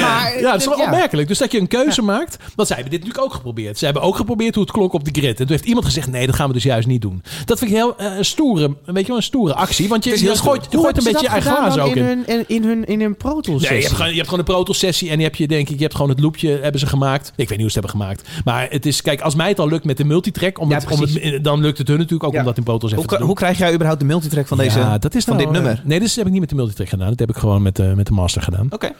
S4: Maar, eh,
S2: Ja, dat is wel
S4: ja.
S2: opmerkelijk. Dus dat je een keuze maakt. Want zij hebben dit natuurlijk ook geprobeerd. Ze hebben ook geprobeerd hoe het klonk op de grid. En toen heeft iemand gezegd, nee, dat gaan we dus juist niet doen. Dat vind ik heel eh, een stoere, weet je wel, een stoere actie. Want je,
S1: Het is
S2: je
S1: heel
S2: gooit, je
S4: Hoe
S2: gooit
S4: hebben
S2: een
S4: ze
S2: beetje je
S4: dat
S2: eigen
S4: gedaan
S2: glazen
S4: dan
S2: ook in.
S4: Hun, in, in hun, in hun Pro Tools
S2: Nee, je hebt,
S4: sessie?
S2: gewoon, je hebt gewoon een protosessie en die heb je denk ik, je hebt gewoon het loopje hebben ze gemaakt. Ik weet niet hoe ze het hebben gemaakt. Maar het is, kijk, als mij het al lukt met de multitrack, om
S4: Ja,
S2: het, om het- dan lukt het hun natuurlijk ook
S1: Ja.
S2: om dat in protos even
S1: Hoe,
S2: te
S1: k-
S2: doen.
S1: hoe krijg jij überhaupt de multitrack van, deze,
S2: ja, dat is
S1: van
S2: nou,
S1: dit
S2: eh,
S1: nummer?
S2: Nee, dat heb ik niet met de multitrack gedaan. Dat heb ik gewoon met, eh, met de master gedaan.
S1: Oké.
S2: Ja,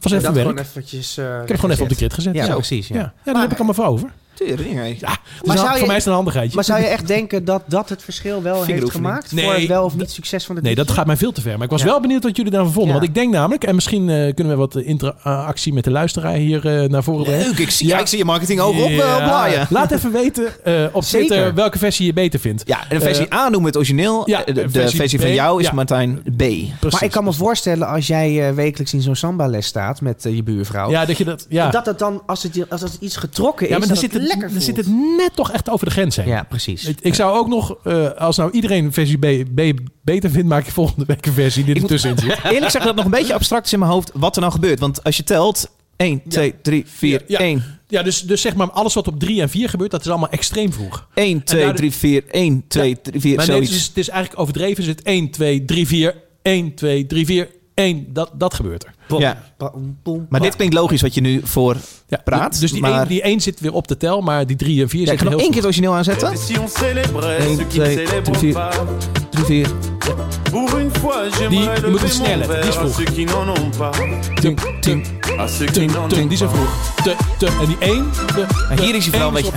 S2: was even
S4: Dat
S2: werk.
S4: gewoon eventjes... eh,
S2: ik heb het gewoon even op de
S4: gezet.
S2: grid gezet.
S4: Ja,
S2: zo.
S4: precies. Ja.
S2: Ja, ja daar heb ik allemaal voor over.
S1: Tering, hé.
S2: Ja, dus
S4: Maar
S2: dan-
S4: zou je-
S2: voor mij is het een handigheidje.
S4: Maar zou je echt denken dat dat het verschil wel heeft
S1: Vingeroefening.
S4: gemaakt?
S2: Nee,
S4: voor het wel of niet
S2: dat-
S4: succes van de
S2: Nee, dat gaat mij veel te ver. Maar ik was
S4: Ja.
S2: wel benieuwd wat jullie daarvan vonden.
S4: Ja.
S2: Want ik denk namelijk, en misschien eh, kunnen we wat interactie met de luisteraar hier eh, naar voren brengen.
S1: Leuk, ik zie,
S2: Ja.
S1: ja, ik zie je marketing ook op,
S2: Ja.
S1: eh, oplaaien.
S2: Laat even weten eh, op
S4: Zeker.
S2: Twitter welke versie je beter vindt.
S1: Ja, en de versie
S2: Eh,
S1: A noemen we het origineel.
S2: ja,
S1: eh, de, de
S2: versie
S1: versie,
S2: B,
S1: van jou is
S2: ja.
S1: Martijn B.
S2: precies.
S4: Maar ik kan me voorstellen als jij eh, wekelijks in zo'n samba-les staat met eh, je buurvrouw.
S2: Ja, dat je dat... Ja,
S4: Dat het dan, als het, je- als het iets getrokken is,
S2: ja maar dan
S4: dat het
S2: zit het,
S4: lekker
S2: dan zit
S4: voelt.
S2: het net toch echt over de grens heen.
S4: Ja, precies.
S2: Ik, ik zou ook nog, eh, als nou iedereen versie B, B beter vindt, maak je volgende week een versie die
S1: Ik moet-
S2: ertussenin zit.
S1: Eerlijk gezegd dat het nog een beetje abstract is in mijn hoofd wat er nou gebeurt. Want als je telt, 1, 2, 3, 4,
S2: Ja.
S1: 1.
S2: Ja, dus, dus zeg maar alles wat op 3 en 4 gebeurt, dat is allemaal extreem vroeg.
S1: 1, 2,
S2: daardoor-
S1: 3, 4, 1, 2, 3, 4,
S2: Maar nee, het, is,
S1: zoiets.
S2: het is eigenlijk overdreven. Er zit 1, 2, 3, 4, 1, 2, 3, 4, 1. Dat, dat gebeurt er.
S1: Ja.
S4: Bam, boem.
S1: Maar dit klinkt logisch wat je nu voor...
S2: Ja,
S1: Praat,
S2: Dus die,
S1: maar-
S2: 1, die 1 zit weer op de tel, maar die 3 en
S1: Ja,
S2: 4
S1: ik
S2: zitten
S1: kan nog één
S2: heel
S1: keer het origineel
S2: vroeg. Hein?
S1: aanzetten.
S11: Et si on célébrait
S1: Un,
S11: ceux qui
S1: deux,
S11: ne célèbrent
S1: trois,
S11: pas
S1: 3, 4.
S11: Pour une fois,
S2: Dis-
S11: j'aimerais
S2: il
S11: lever
S2: me touche
S11: mon
S2: snelle, dis
S11: verre à
S2: vroeg.
S11: ceux qui n'en ont pas
S2: Tum, tum,
S11: À ceux qui
S2: tum,
S11: n'en ont
S2: tum. Die zijn
S11: pas
S2: vroeg. Te, te. En die 1.
S1: En hier is hij vooral een beetje-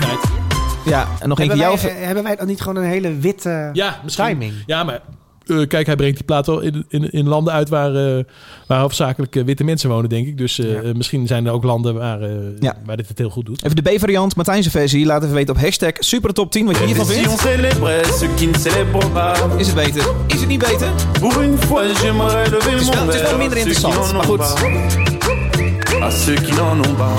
S1: Ja, en nog één keer
S4: hebben,
S1: jou.
S4: wij, eh, hebben wij dan niet gewoon een hele witte...
S2: Ja, misschien.
S4: Timing.
S2: Ja, maar... eh, kijk, hij brengt die plaat wel in, in, in landen uit waar, eh, waar hoofdzakelijk eh, witte mensen wonen, denk ik. Dus eh, eh, misschien zijn er ook landen waar, eh,
S1: Ja.
S2: waar dit het heel goed doet.
S1: Even de B-variant, Martijnse versie. Laat even weten op hashtag supertop10 wat je
S11: Et
S1: hiervan
S11: si on
S1: vindt.
S11: célébrait ceux qui ne célèbrent pas
S1: Is het beter? Is het niet beter?
S11: Pour une fois, j'aimerais lever
S1: is wel-
S11: mon
S1: het is wel
S11: verre
S1: minder
S11: à ceux qui
S1: interessant,
S11: n'en
S1: maar goed.
S11: ont pas À ceux qui n'en ont pas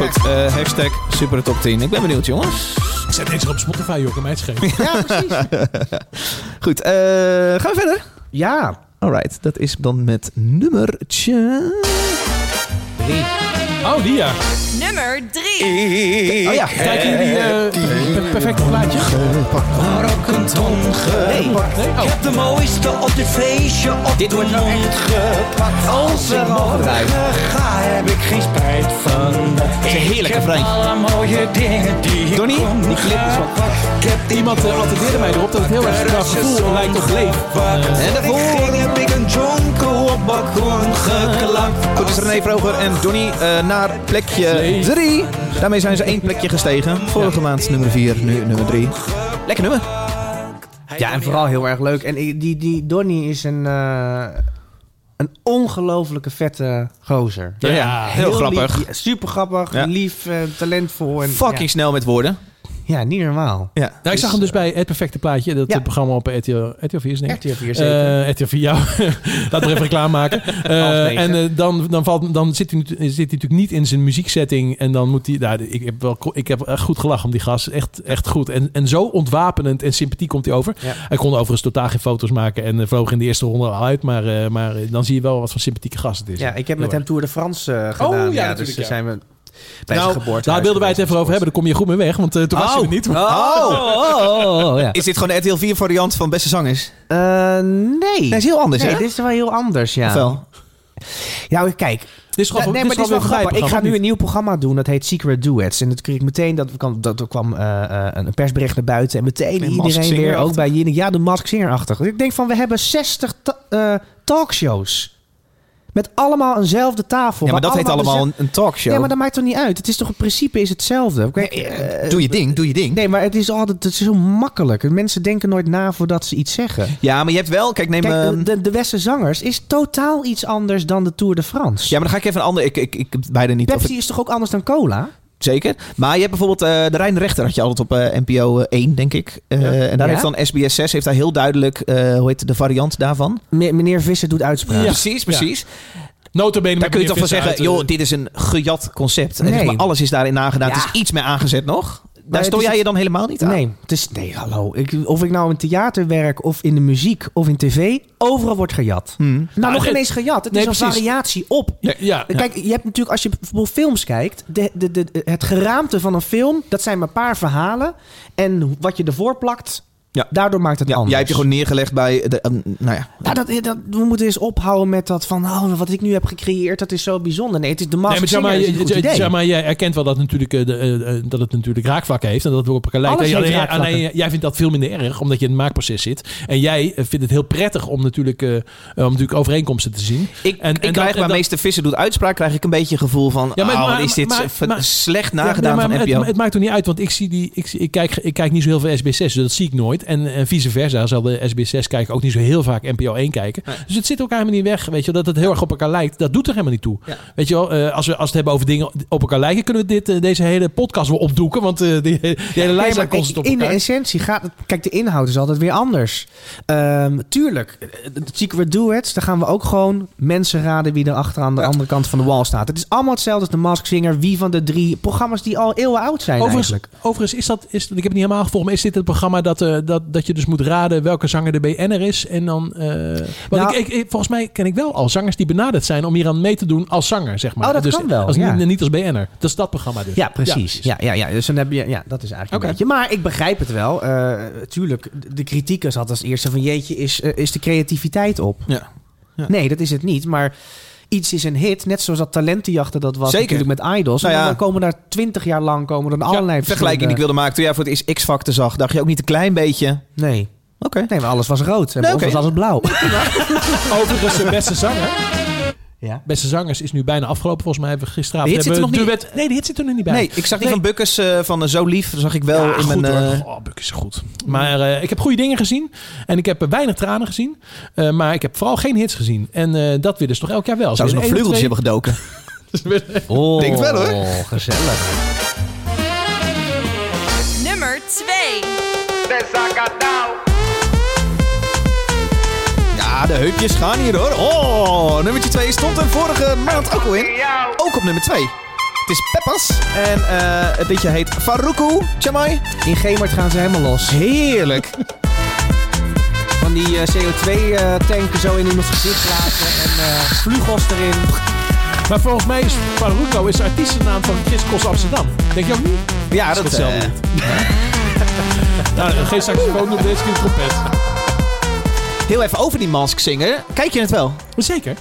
S1: Goed, eh, hashtag supertop10. Ik ben benieuwd, jongens.
S2: Ik zet deze op Spotify, joh, kan mij het schelen.
S4: Ja, precies.
S1: Goed, eh, gaan we verder?
S4: ja.
S1: Alright, dat is dan met nummertje...
S2: Oh, die ja.
S3: Nummer 3.
S1: Oh ja,
S2: Kijken jullie eh, per- perfecte plaatje?
S1: Nee.
S2: Nee? Oh.
S9: De mooiste op dit feestje op Dit wordt nou echt gepakt. Als er
S1: gebruikt.
S9: ga, heb ik geen spijt van. Dat
S1: is een heerlijk refrein.
S9: alle mooie dingen die ik
S1: Donnie,
S9: kon
S1: die clip is wel
S9: gebruiken. Ik heb die
S2: Iemand eh, attendeerde mij erop dat het heel erg qua gevoel lijkt op leef.
S1: En daarvoor...
S9: ging, heb ik een jonko op balkon geklapt.
S1: Goed, dus René Vroger en Donny eh, naar plekje
S2: Nee.
S1: 3. Daarmee zijn ze één plekje gestegen. Vorige maand nummer 4, nu nummer 3. Lekker nummer.
S4: ja, en vooral heel erg leuk. En i- die, die Donnie is een, eh, een ongelofelijke vette gozer.
S1: Ja, heel grappig.
S4: lief, ja, super grappig,
S1: Ja.
S4: lief, eh, talentvol. En,
S1: Fucking snel met woorden.
S4: Ja, ja, niet normaal.
S1: Ja.
S2: Nou, ik zag hem dus bij Het Perfecte Plaatje, dat
S4: Ja.
S2: eh, programma op RTL, RTL 4 is denk ik.
S4: RTL 4 zeker.
S2: Eh, RTL 4, ja. Laten we even reclame maken. Eh,
S4: Half negen.
S2: en eh, dan, dan, valt, dan zit, hij, natu- zit hij natuurlijk niet in zijn muzieksetting. En dan moet hij... Nou, ik, heb wel, ko- ik heb echt goed gelachen om die gast. Echt, echt goed. En, en zo ontwapenend en sympathiek komt hij over.
S4: Ja.
S2: Hij kon overigens totaal geen foto's maken. En eh, vloog in de eerste ronde al uit. Maar, eh, maar dan zie je wel wat voor sympathieke gast het is.
S4: Ja, ik heb
S2: Heel
S4: met hem Tour de France eh, gedaan.
S2: ja,
S4: dus
S2: natuurlijk,
S4: daar
S2: ja.
S4: zijn we bij zijn
S2: nou,
S4: geboorte.
S2: daar wilden wij het even over hebben. Daar kom je goed mee weg, want eh, toen was je er niet.
S1: Oh.
S4: ja.
S1: Is dit gewoon de RTL 4 variant van Beste Zangers?
S4: Eh, nee.
S1: Nee, is heel anders,
S4: Nee,
S1: hè?
S4: dit is wel heel anders, ja.
S1: Of wel?
S4: Ja, kijk.
S2: Dit is gewoon,
S4: nee,
S2: dit
S4: maar
S2: is
S4: dit is wel
S2: gewoon weer
S4: grappig. Ik
S2: een
S4: ga nu
S2: vrijprogramma,
S4: een nieuw programma doen, dat heet Secret Duets. En dat kreeg ik meteen, dat kwam, dat, er kwam eh, eh, een persbericht naar buiten. En meteen
S1: Een
S4: iedereen weer,
S1: Masked
S4: ook bij Jinek. Ja, de Mask Singer-achtig. Dus Ik denk van, we hebben 60 ta- eh, talkshows. Met allemaal eenzelfde tafel.
S1: Ja, maar
S4: waar
S1: dat heet allemaal
S4: dezelfde-
S1: een, een talkshow.
S4: dus- Ja, maar dat maakt toch niet uit? Het is toch in principe is hetzelfde? Kijk, eh,
S1: doe je ding, doe je ding.
S4: Nee, maar het is altijd het is zo makkelijk. Mensen denken nooit na voordat ze iets zeggen.
S1: Ja, maar je hebt wel... Kijk, neem...
S4: Kijk, eh, dus-
S1: ehm,
S4: de, de, de Westen Zangers is totaal iets anders dan de Tour de France.
S1: ja, maar dan ga ik even een ander... Ik, ik, ik heb beide niet... of
S4: Pepsi
S1: ik-
S4: is toch ook anders dan cola?
S1: zeker. Maar je hebt bijvoorbeeld... eh, de Rijn Rechter had je altijd op eh, NPO eh, 1, denk ik. Eh, En
S4: Ja.
S1: daar heeft dan SBS 6 heeft daar heel duidelijk... eh, hoe heet de variant daarvan?
S4: Me- meneer Visser doet uitspraak.
S1: Precies, precies.
S2: Notabene
S1: Daar
S2: met
S1: kun je toch van
S2: meneer Vissen
S1: zeggen,
S2: uit, eh,
S1: joh, dit is een gejat concept. En het is
S4: Nee.
S1: maar alles is daarin nagedaan.
S4: Ja.
S1: Het is iets meer aangezet nog.
S4: Maar
S1: Daar
S4: het
S1: stoor
S4: is
S1: jij
S4: het-
S1: je dan helemaal niet aan.
S4: Nee, het is, nee hallo. Ik, of ik nou in theater werk, of in de muziek, of in tv, overal wordt gejat. Nou, nog
S2: Hmm. het-
S4: ineens gejat. Het
S2: Nee,
S4: is een
S2: precies.
S4: variatie op.
S2: Ja, ja, ja.
S4: Kijk, je hebt natuurlijk, als je bijvoorbeeld films kijkt, de, de, de, het geraamte van een film, dat zijn maar een paar verhalen. En wat je ervoor plakt,
S1: Ja.
S4: daardoor maakt het
S1: Ja,
S4: anders.
S1: jij hebt je gewoon neergelegd bij... De, eh, nou ja.
S4: Ja, dat, dat, we moeten eens ophouden met dat van, oh, wat ik nu heb gecreëerd, dat is zo bijzonder. Nee, het is de
S2: Nee,
S4: Masked
S2: maar zeg maar,
S4: Singer is een goed
S2: je-
S4: idee.
S2: zeg maar, jij herkent wel dat, natuurlijk, eh, de, eh, eh, dat het natuurlijk raakvlakken heeft. En dat het ook op elkaar lijkt.
S4: Alles
S2: Alleen-
S4: heeft
S2: alleen-
S4: raakvlakken.
S2: alleen eh, jij vindt dat veel minder erg, omdat je in het maakproces zit. En jij eh, vindt het heel prettig om natuurlijk, eh, om natuurlijk overeenkomsten te zien.
S1: Ik,
S2: en
S1: ik
S2: dat-
S1: krijg
S2: en
S1: bij
S2: dat-
S1: meester Visser doet uitspraak, krijg ik een beetje gevoel van...
S2: Ja, maar-
S1: oh,
S2: maar-
S1: is dit
S2: maar-
S1: ver-
S2: maar-
S1: slecht
S2: Ja,
S1: nagedaan
S2: nee, maar
S1: van
S2: het,
S1: NPO?
S2: het maakt toch niet uit, want ik, zie die, ik, zie- ik, kijk, ik kijk niet zo heel veel SBS6, dus dat zie ik nooit. En, en vice versa zal de SBS6 kijken ook niet zo heel vaak NPO 1 kijken. Dus het zit elkaar helemaal niet weg, weet je wel, dat het heel erg op elkaar lijkt. Dat doet er helemaal niet toe. Weet je wel, eh, als, we, als we het hebben over dingen op elkaar lijken, kunnen we dit, eh, deze hele podcast wel opdoeken, want eh, die, die hele
S4: Nee,
S2: lijst
S4: maar
S2: nee, constant op
S4: in de
S2: elkaar.
S4: essentie gaat het. Kijk, de inhoud is altijd weer anders. Ehm, tuurlijk, eh, de Secret Duets, daar gaan we ook gewoon mensen raden wie er achter aan de andere kant van de wal staat. Het is allemaal hetzelfde als de Mask Singer, wie van de drie programma's die al eeuwen oud zijn
S2: Overigens,
S4: eigenlijk.
S2: overigens is dat, is, ik heb het niet helemaal gevolgd, maar is dit het programma dat, eh, dat, dat je dus moet raden welke zanger de BN'er is? En dan, eh, want
S4: Nou-
S2: ik, ik- ik- volgens mij ken ik wel al zangers die benaderd zijn om hier aan mee te doen als zanger, zeg maar.
S4: Oh, dat
S2: dus,
S4: kan wel,
S2: Als,
S4: ja.
S2: niet, niet als BN'er. Dat is dat programma dus.
S4: Ja, precies. Ja, ja, ja, Dus dan heb je, ja, dat is eigenlijk
S2: Oké.
S4: een beetje. Maar ik begrijp het wel. Eh, tuurlijk, de kritiek is altijd als eerste van jeetje, is, eh, is de creativiteit op?
S1: Ja. Ja.
S4: Nee, dat is het niet. Maar iets is een hit. Net zoals dat talentenjachten dat was
S1: Zeker.
S4: natuurlijk met idols.
S1: Nou
S4: en
S1: ja.
S4: dan komen daar twintig jaar lang komen er allerlei
S1: Ja, vergelijking die
S4: verschillende-
S1: ik wilde maken. Toen jij voor het eerst X-Factor zag, dacht je ook niet een klein beetje...
S4: Nee.
S1: Oké.
S4: Nee, maar alles was rood. En
S1: Nee,
S4: bij ons
S1: oké.
S4: was alles blauw.
S2: Overigens, de beste zanger.
S4: Ja.
S2: Beste zangers is nu bijna afgelopen. Volgens mij hebben we gisteravond...
S1: De hit
S2: hebben
S1: zit er
S2: we
S1: nog
S2: duet- Nee, de hit zit er nog niet bij.
S1: Nee, ik zag die
S2: Nee.
S1: van Bukkers eh, van eh, Zo Lief. zag ik wel
S2: Ja,
S1: in
S2: goed
S1: mijn... eh,
S2: hoor. Oh, Buk is goed. Maar eh, ik heb goede dingen gezien. En ik heb eh, weinig tranen gezien. Eh, maar ik heb vooral geen hits gezien. En eh, dat willen ze toch elk jaar wel.
S1: Zouden ze nog
S2: Ze willen
S1: vleugeltjes
S2: één of
S1: hebben gedoken?
S4: Oh,
S1: Denk het wel,
S4: Gezellig.
S3: Nummer 2.
S1: Ja, de heupjes gaan hier hoor. Oh, nummertje 2 stond er vorige maand ook al in. Ook op nummer 2. Het is Peppas. En eh, het liedje heet Faruku. Chamai.
S4: In Gemert gaan ze helemaal los.
S1: Heerlijk.
S4: Van die eh, CO2-tanken zo in iemands gezicht laten. En eh, vlugels erin.
S2: twee. Maar volgens mij is Faruco is de artiestennaam van Chris Kos Amsterdam. Denk je ook niet?
S1: Ja,
S2: is
S1: dat eh, is
S2: hetzelfde lied. Nou, geen saxofoon op deze keer een trompet.
S1: Heel even over die mask singer. Kijk je het wel?
S2: Zeker.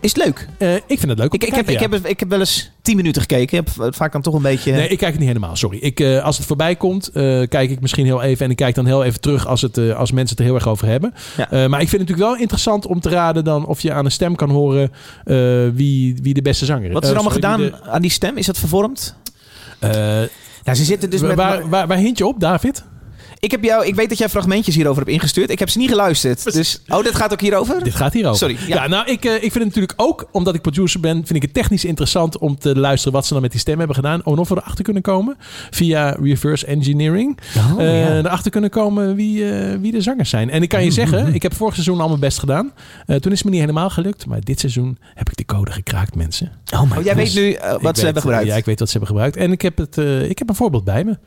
S1: Is het leuk?
S2: Eh, ik vind het leuk. om
S1: Ik,
S2: te
S1: ik, heb,
S2: kijken,
S1: ik,
S2: ja.
S1: heb, ik heb wel eens 10 minuten gekeken. Ik heb eh, vaak dan toch een beetje... eh,
S2: Nee, ik kijk het niet helemaal, sorry. Ik, eh, als het voorbij komt, eh, kijk ik misschien heel even. En ik kijk dan heel even terug als, het, eh, als mensen het er heel erg over hebben.
S1: Ja.
S2: Eh, maar ik vind het natuurlijk wel interessant om te raden dan of je aan een stem kan horen eh, wie, wie de beste zanger is.
S1: Wat is er
S2: Eh,
S1: allemaal
S2: sorry,
S1: gedaan
S2: wie
S1: aan die stem? Is dat vervormd?
S2: de- eh,
S4: Nou, ze zitten dus
S2: waar,
S4: met...
S2: waar, waar, waar hint je op, David?
S1: Ik, heb jou, ik weet dat jij fragmentjes hierover hebt ingestuurd. Ik heb ze niet geluisterd. Dus, oh, dit gaat ook hierover?
S2: Dit gaat hierover.
S1: Sorry, ja.
S2: Ja, nou, ik, eh, ik vind het natuurlijk ook, omdat ik producer ben, vind ik het technisch interessant om te luisteren wat ze dan met die stem hebben gedaan. Oh, En of we erachter kunnen komen via reverse engineering.
S4: Oh,
S2: eh,
S4: ja.
S2: erachter kunnen komen wie, eh, wie de zangers zijn. En ik kan je zeggen, ik heb vorig seizoen al mijn best gedaan. Eh, toen is het me niet helemaal gelukt. Maar dit seizoen heb ik de code gekraakt, mensen.
S4: Oh my
S1: Oh, jij weet nu eh, wat
S2: Ik
S1: ze
S2: weet,
S1: hebben gebruikt.
S2: Ja, ik weet wat ze hebben gebruikt. En ik heb, het, eh, ik heb een voorbeeld bij me.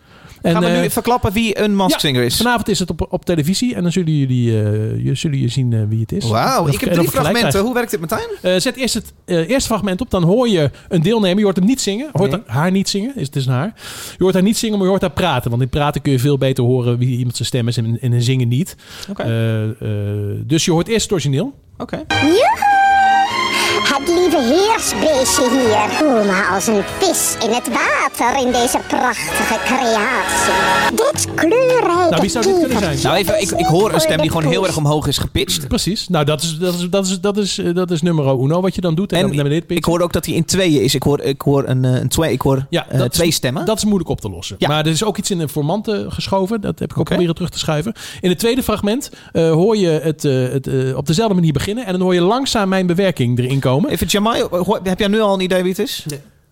S2: En,
S1: Gaan we
S2: eh,
S1: nu verklappen wie een mask
S2: ja,
S1: singer is?
S2: Vanavond is het op, op televisie en dan zullen jullie, eh, je- zullen jullie zien eh, wie het is.
S1: Wauw, ik heb
S2: En of
S1: drie
S2: ik gelijk krijg.
S1: fragmenten. Hoe werkt dit, Martijn?
S2: Eh, zet eerst het eh, eerste fragment op. Dan hoor je een deelnemer. Je hoort hem niet zingen. Hoort
S4: Nee.
S2: haar niet zingen. Is, het is een haar. Je hoort haar niet zingen, maar je hoort haar praten. Want in praten kun je veel beter horen wie iemand zijn stem is. En in een zingen niet.
S1: Oké.
S2: Eh, eh, dus je hoort eerst het origineel.
S1: Oké.
S12: Het lieve heersbeestje hier. Voel me als een vis in het water in deze prachtige creatie. Dit kleurrijke
S2: Nou, wie zou dit kunnen
S12: kiever-
S2: zijn?
S1: Nou, even, ik, ik hoor een stem die gewoon heel erg omhoog is gepitcht.
S2: Precies. Nou, dat is, dat is, dat is, dat is, eh, dat is numero uno wat je dan doet. En, dan
S1: En
S2: naar beneden
S1: ik hoor ook dat hij in tweeën is. Ik hoor, ik hoor, een, eh, een twee, ik hoor
S2: Ja,
S1: eh,
S2: dat is-
S1: twee stemmen.
S2: Dat is moeilijk op te lossen.
S1: Ja.
S2: Maar er is ook iets in de formanten geschoven. Dat heb ik ook proberen terug te schuiven. In het tweede fragment eh, hoor je het, eh, het eh, op dezelfde manier beginnen. En dan hoor je langzaam mijn bewerking erin komen.
S1: Even Jamai, hoor- heb jij nu al een idee wie het is?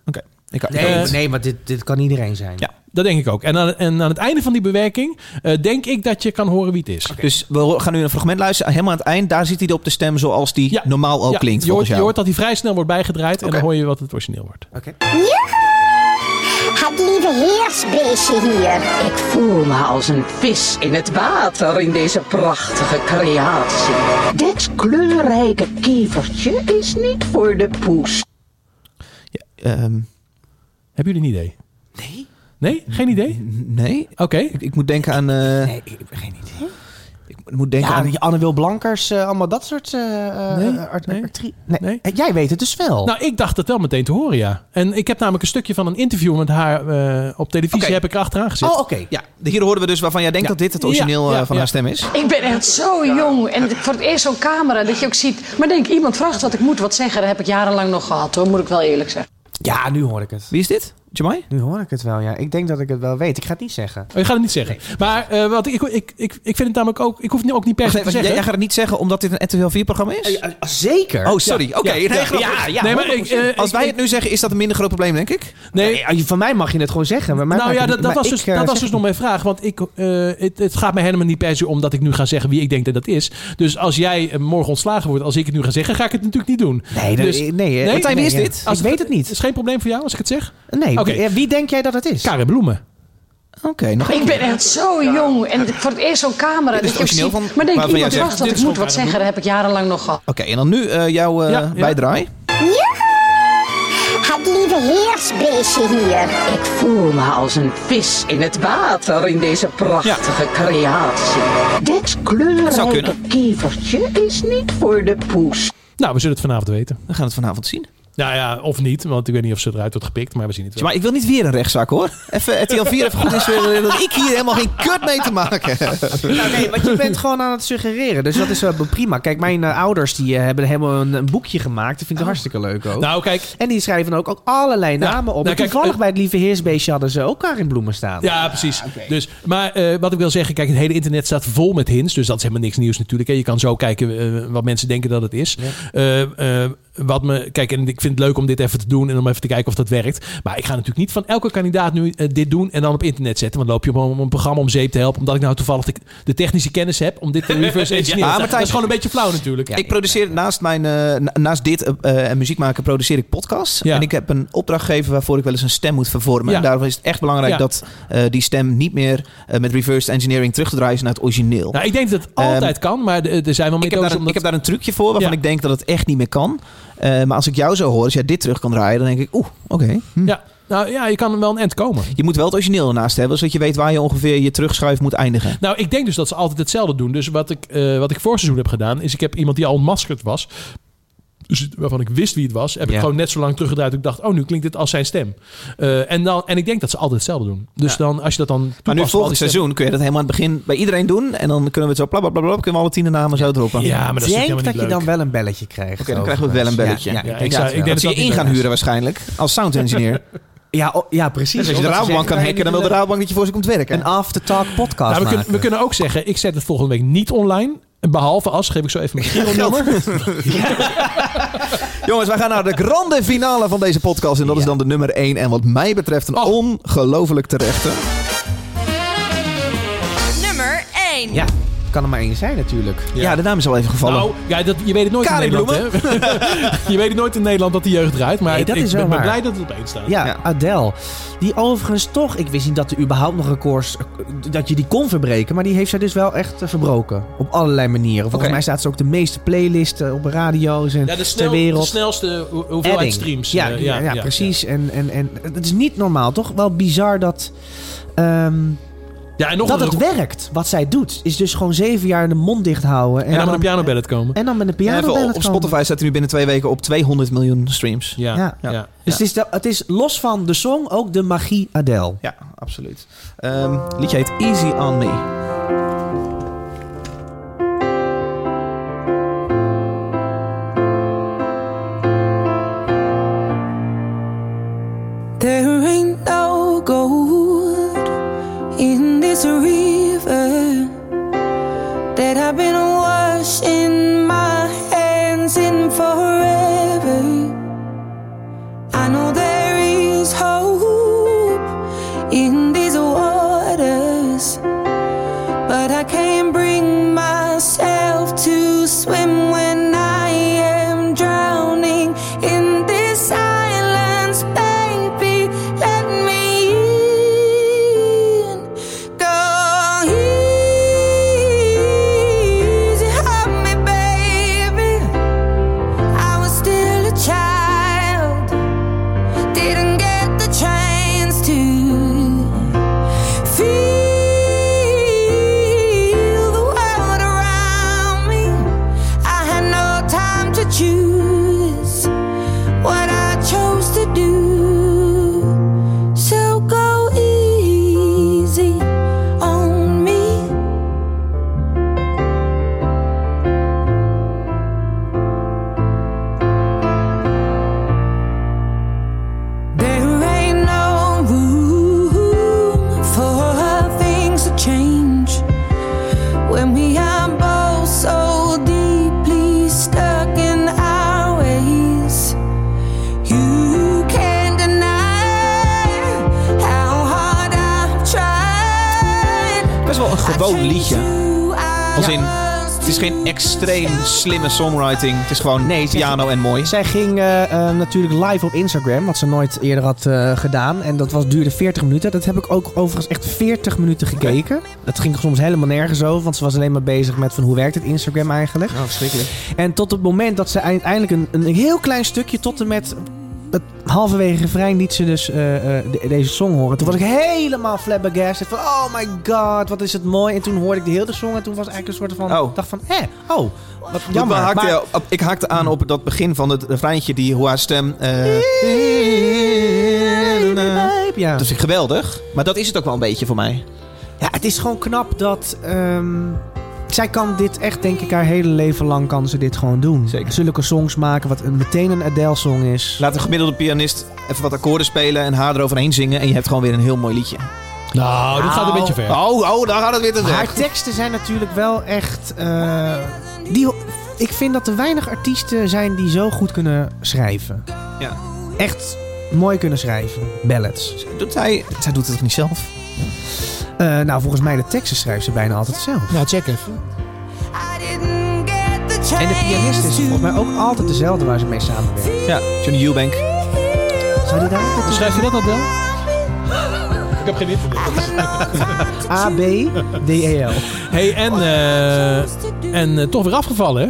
S1: Oké. Ik,
S4: Nee, nee maar dit, dit kan iedereen zijn.
S1: Ja.
S2: Dat denk ik ook. En aan, en aan het einde van die bewerking eh, denk ik dat je kan horen wie het is.
S1: Dus we gaan nu een fragment luisteren. Helemaal aan het eind, daar zit hij op de stem zoals die normaal ook
S2: Ja,
S1: klinkt.
S2: je,
S1: volgens
S2: hoort, je
S1: jou.
S2: hoort dat hij vrij snel wordt bijgedraaid en dan hoor je wat het origineel wordt.
S12: Joehoe! Het lieve heersbeestje hier.
S13: Ik voel me als een vis in het water in deze prachtige creatie. Dit kleurrijke kievertje is niet voor de poes.
S1: Ehm,
S2: Hebben jullie een idee? Nee. Nee? Geen idee?
S1: Nee.
S2: Oké.
S1: Ik, ik moet denken aan... eh,
S4: ik heb geen idee.
S1: Ik moet denken
S4: ja,
S1: aan...
S4: die Anne Wil Blankers, eh, allemaal dat soort... eh eh,
S2: Nee,
S4: art- artrie- nee. Eh, Jij weet het dus wel.
S2: Nou, ik dacht het wel meteen te horen, ja. En ik heb namelijk een stukje van een interview met haar eh, op televisie heb ik erachteraan gezet.
S1: Oh, oké. Ja, hier horen we dus waarvan jij denkt dat dit het origineel eh, van haar stem is.
S14: Ik ben echt zo jong en het- voor het eerst zo'n camera dat je ook ziet. Maar denk, iemand vraagt wat ik moet wat zeggen. Dat heb ik jarenlang nog gehad hoor, moet ik wel eerlijk zeggen.
S4: Ja, nu hoor ik het.
S1: Wie is dit? Jamai?
S4: Nu hoor ik het wel, ja. Ik denk dat ik het wel weet. Ik ga het niet zeggen.
S2: Oh, je gaat het niet zeggen. Maar eh, wat, ik, ik, ik, ik vind het namelijk ook... Ik hoef het ook niet per
S1: Wacht
S2: se te
S1: even, jij,
S2: zeggen. Eh,
S1: jij gaat het niet zeggen omdat dit een RTL 4-programma is?
S4: Eh, zeker.
S1: Oh, sorry.
S2: Ja,
S1: Oké.
S2: ja,
S1: nee,
S2: ja.
S1: grappig.
S2: Ja, ja, Nee, maar ik, eh,
S1: Als
S2: ik-
S1: wij
S2: ik-
S1: het nu zeggen, is dat een minder groot probleem, denk ik?
S2: Nee,
S4: van mij mag je het gewoon zeggen. maar mij
S2: Nou
S4: maakt
S2: ja,
S4: het
S2: dat,
S4: niet-
S2: dat
S4: maar
S2: was, dus,
S4: ik, eh,
S2: dat was
S4: zeg
S2: dus nog mijn vraag. Want ik, eh, het, het gaat mij helemaal niet per se om dat ik nu ga zeggen wie ik denk dat dat is. Dus als jij eh, morgen ontslagen wordt, als ik het nu ga zeggen, ga ik het natuurlijk niet doen.
S4: Nee, dat-
S2: dus,
S4: nee, eh, Martijn, wie is dit? Ik weet
S2: het niet. Is geen probleem voor jou als ik het zeg?
S4: Nee. eh,
S2: Oké.
S4: Wie, wie denk jij dat het is?
S2: Karin Bloemen.
S1: Oké, nog e-
S14: Ik ben echt zo jong en het- voor het eerst zo'n camera
S1: Dit
S14: dat
S1: is
S14: je ook
S1: het origineel
S14: ziet.
S1: van-
S14: maar denk,
S1: waarvan
S14: iemand
S1: jij zegt,
S14: vraagt wat
S1: dit
S14: ik
S1: is
S14: moet
S1: van
S14: wat
S1: Karin
S14: zeggen. Dat heb ik jarenlang nog gehad.
S1: Oké, en dan nu eh, jouw eh
S12: Ja, ja.
S1: bijdraai.
S12: Het lieve heersbeestje hier.
S13: Ik voel me als een vis in het water in deze prachtige creatie. Dit
S1: Zou
S13: kleurrijke
S1: kunnen.
S13: kievertje is niet voor de poes.
S2: Nou, we zullen het vanavond weten.
S1: We gaan het vanavond zien.
S2: Nou ja, of niet. Want ik weet niet of ze eruit wordt gepikt, maar we zien het wel.
S1: Maar ik wil niet weer een rechtszaak, hoor. Even RTL 4 even goed inspelen dat ik hier helemaal geen kut mee te maken heb.
S4: Nou, nee, want je bent gewoon aan het suggereren. Dus dat is wel prima. Kijk, mijn eh, ouders die, eh, hebben helemaal een, een boekje gemaakt. Dat vind ik hartstikke leuk ook.
S2: Nou, kijk.
S4: En die schrijven dan ook, ook allerlei namen op.
S2: nou,
S4: en
S2: kijk,
S4: toevallig
S2: eh,
S4: bij het Lieve Heersbeestje hadden ze ook Karin Bloemen staan.
S2: Ja, precies.
S1: Ah,
S2: Dus, maar eh, wat ik wil zeggen, kijk, het hele internet staat vol met hints. Dus dat is helemaal niks nieuws natuurlijk. Hè. Je kan zo kijken eh, wat mensen denken dat het is. Eh, eh, wat me, kijk, en ik vind het leuk om dit even te doen en om even te kijken of dat werkt. Maar ik ga natuurlijk niet van elke kandidaat nu eh, dit doen en dan op internet zetten. Want dan loop je om, om een programma om zeep te helpen. Omdat ik nou toevallig de, de technische kennis heb om dit te reverse engineeren.
S1: Ja, Ah, Martijn.
S2: dat is gewoon een beetje flauw natuurlijk.
S1: ik produceer naast, mijn, eh, na- naast dit eh, eh, muziek maken, produceer ik podcasts. En ik heb een opdrachtgever waarvoor ik wel eens een stem moet vervormen.
S2: Ja.
S1: En daarom is het echt belangrijk
S2: Ja.
S1: dat eh, die stem niet meer eh, met reverse engineering terug te draaien is naar het origineel.
S2: Nou, ik denk dat het altijd kan, maar er er zijn wel
S1: Ehm, ik heb, daar
S2: methodes
S1: een,
S2: om
S1: ik heb
S2: dat...
S1: daar een trucje voor waarvan ik denk dat het echt niet meer kan. Eh, maar als ik jou zo hoor, als jij dit terug kan draaien, dan denk ik, oeh, oké.
S2: Ja, nou ja, je kan er wel een end komen.
S1: Je moet wel het origineel ernaast hebben, zodat je weet waar je ongeveer je terugschuif moet eindigen.
S2: Nou, ik denk dus dat ze altijd hetzelfde doen. Dus wat ik, eh, wat ik voor seizoen heb gedaan, is ik heb iemand die al ontmaskerd was. Dus waarvan ik wist wie het was, heb
S1: Ja.
S2: ik gewoon net zo lang teruggedraaid. dat Ik dacht, oh, nu klinkt dit als zijn stem. Eh, en, dan, en ik denk dat ze altijd hetzelfde doen. Dus dan, als je dat dan. toepast
S1: Maar
S2: op
S1: nu
S2: al die
S1: volgend
S2: stemmen-
S1: seizoen kun je dat helemaal aan het begin bij iedereen doen. En dan kunnen we het zo blablabla, kunnen we alle tien de namen zo droppen.
S2: Ja, maar dat is
S4: denk
S2: natuurlijk
S4: dat je
S2: helemaal
S4: dan wel een belletje krijgt.
S1: Oké, dan krijgen we wel een belletje.
S4: Ja,
S1: ik, zou, ik denk dat ze je
S4: dat
S1: in
S4: niet
S1: gaan
S4: leuk
S1: huren waarschijnlijk. Als sound engineer.
S4: Ja, oh, ja, precies.
S1: Dus als je de
S4: Omdat ze
S1: Rabobank
S4: zeggen,
S1: kan
S4: wij
S1: hacken, dan wil
S4: willen
S1: de Rabobank dat je voor ze komt werken.
S4: Een aftertalk podcast
S2: Nou, we, kunnen,
S4: maken.
S2: we kunnen ook zeggen, ik zet het volgende week niet online. Behalve als, geef ik zo even mijn Giro-nummer.
S1: Jongens, wij gaan naar de grande finale van deze podcast. En dat is dan de nummer 1. En wat mij betreft een ongelooflijk terechte.
S3: Nummer 1.
S4: Ja, kan er maar één zijn natuurlijk.
S1: Ja. de naam is al even gevallen.
S2: Nou, ja, dat, je weet het nooit
S1: Karin
S2: in Nederland. Hè? je weet het nooit in Nederland dat de jeugd draait. Maar
S4: Nee, dat
S2: ik
S4: is wel
S2: ben, ben
S4: waar.
S2: blij dat het opeens staat.
S4: Ja, Adele. Die overigens toch, ik wist niet dat er überhaupt nog records, dat je die kon verbreken. Maar die heeft zij dus wel echt eh, verbroken. Op allerlei manieren. Volgens
S2: Oké.
S4: mij staat ze ook de meeste playlisten op radio's en
S2: Ja, de,
S4: ter
S2: snel, de
S4: wereld.
S2: snelste ho- hoeveelheid
S4: Edding.
S2: streams.
S4: Ja,
S2: eh,
S4: ja, ja, precies. En, en, en het is niet normaal. Toch wel bizar dat, ehm,
S2: Ja, en nog
S4: dat
S2: een
S4: het werkt. Wat zij doet. Is dus gewoon zeven jaar de mond dicht houden. En,
S2: En dan met een pianobellet komen.
S4: en dan met een
S1: Ja,
S4: piano
S1: even op, op Spotify staat hij nu binnen twee weken op 200 miljoen streams.
S2: Ja,
S4: Ja.
S2: ja. ja.
S4: Dus het, is de- het is los van de song ook de magie Adele.
S1: Ja, absoluut. Ehm, liedje heet Easy On Me.
S15: There ain't no gold in this river that I've been washing my hands in forever. I know there is hope.
S1: gewoon liedje. Als in, het is geen extreem slimme songwriting. Het is gewoon piano en mooi.
S4: Zij ging eh, eh, natuurlijk live op Instagram, wat ze nooit eerder had eh, gedaan. En dat was, duurde 40 minuten. Dat heb ik ook overigens echt 40 minuten gekeken. Dat ging soms helemaal nergens over, want ze was alleen maar bezig met van hoe werkt het Instagram eigenlijk.
S1: Oh, verschrikkelijk.
S4: En tot het moment dat ze uiteindelijk een, een heel klein stukje tot en met... Het halverwege refrein liet ze dus eh, eh, de- deze song horen. Toen was ik helemaal flabbergasted van oh my god, wat is het mooi. En toen hoorde ik de hele song en toen was eigenlijk een soort van...
S1: Oh.
S4: dacht van, hé, oh, wat jammer.
S1: Jammer, haakte,
S4: Maar-
S1: op- ik haakte aan op dat begin van het refreintje, die, hoe haar stem... eh,
S4: ja.
S1: Dat vind ik geweldig. Maar dat is het ook wel een beetje voor mij.
S4: Dus- Ja, het is gewoon knap dat. ehm, zij kan dit echt, denk ik, haar hele leven lang kan ze dit gewoon doen. Zeker. Zulke songs maken, wat een- meteen een Adele-song is.
S1: Laat een gemiddelde pianist even wat akkoorden spelen en haar eroverheen zingen. En je hebt gewoon weer een heel mooi liedje.
S2: Nou, dit gaat een beetje ver.
S1: Oh, oh, daar gaat het weer te ver.
S4: Haar teksten zijn natuurlijk wel echt. eh, die, ik vind dat er weinig artiesten zijn die zo goed kunnen schrijven.
S1: Ja.
S4: Echt mooi kunnen schrijven. Ballads.
S1: Doet hij, zij doet het toch niet zelf?
S4: Eh, nou, volgens mij de teksten schrijft ze bijna altijd zelf.
S2: Nou, check even.
S4: En de pianist is volgens mij ook altijd dezelfde waar ze mee samenwerkt.
S1: Ja, Johnny Eubank.
S4: Zou die daar ook
S2: Schrijf je dat dan? Ik heb geen internet.
S4: A, B, D, E, L.
S2: hey, en, eh, en eh, toch weer afgevallen, hè?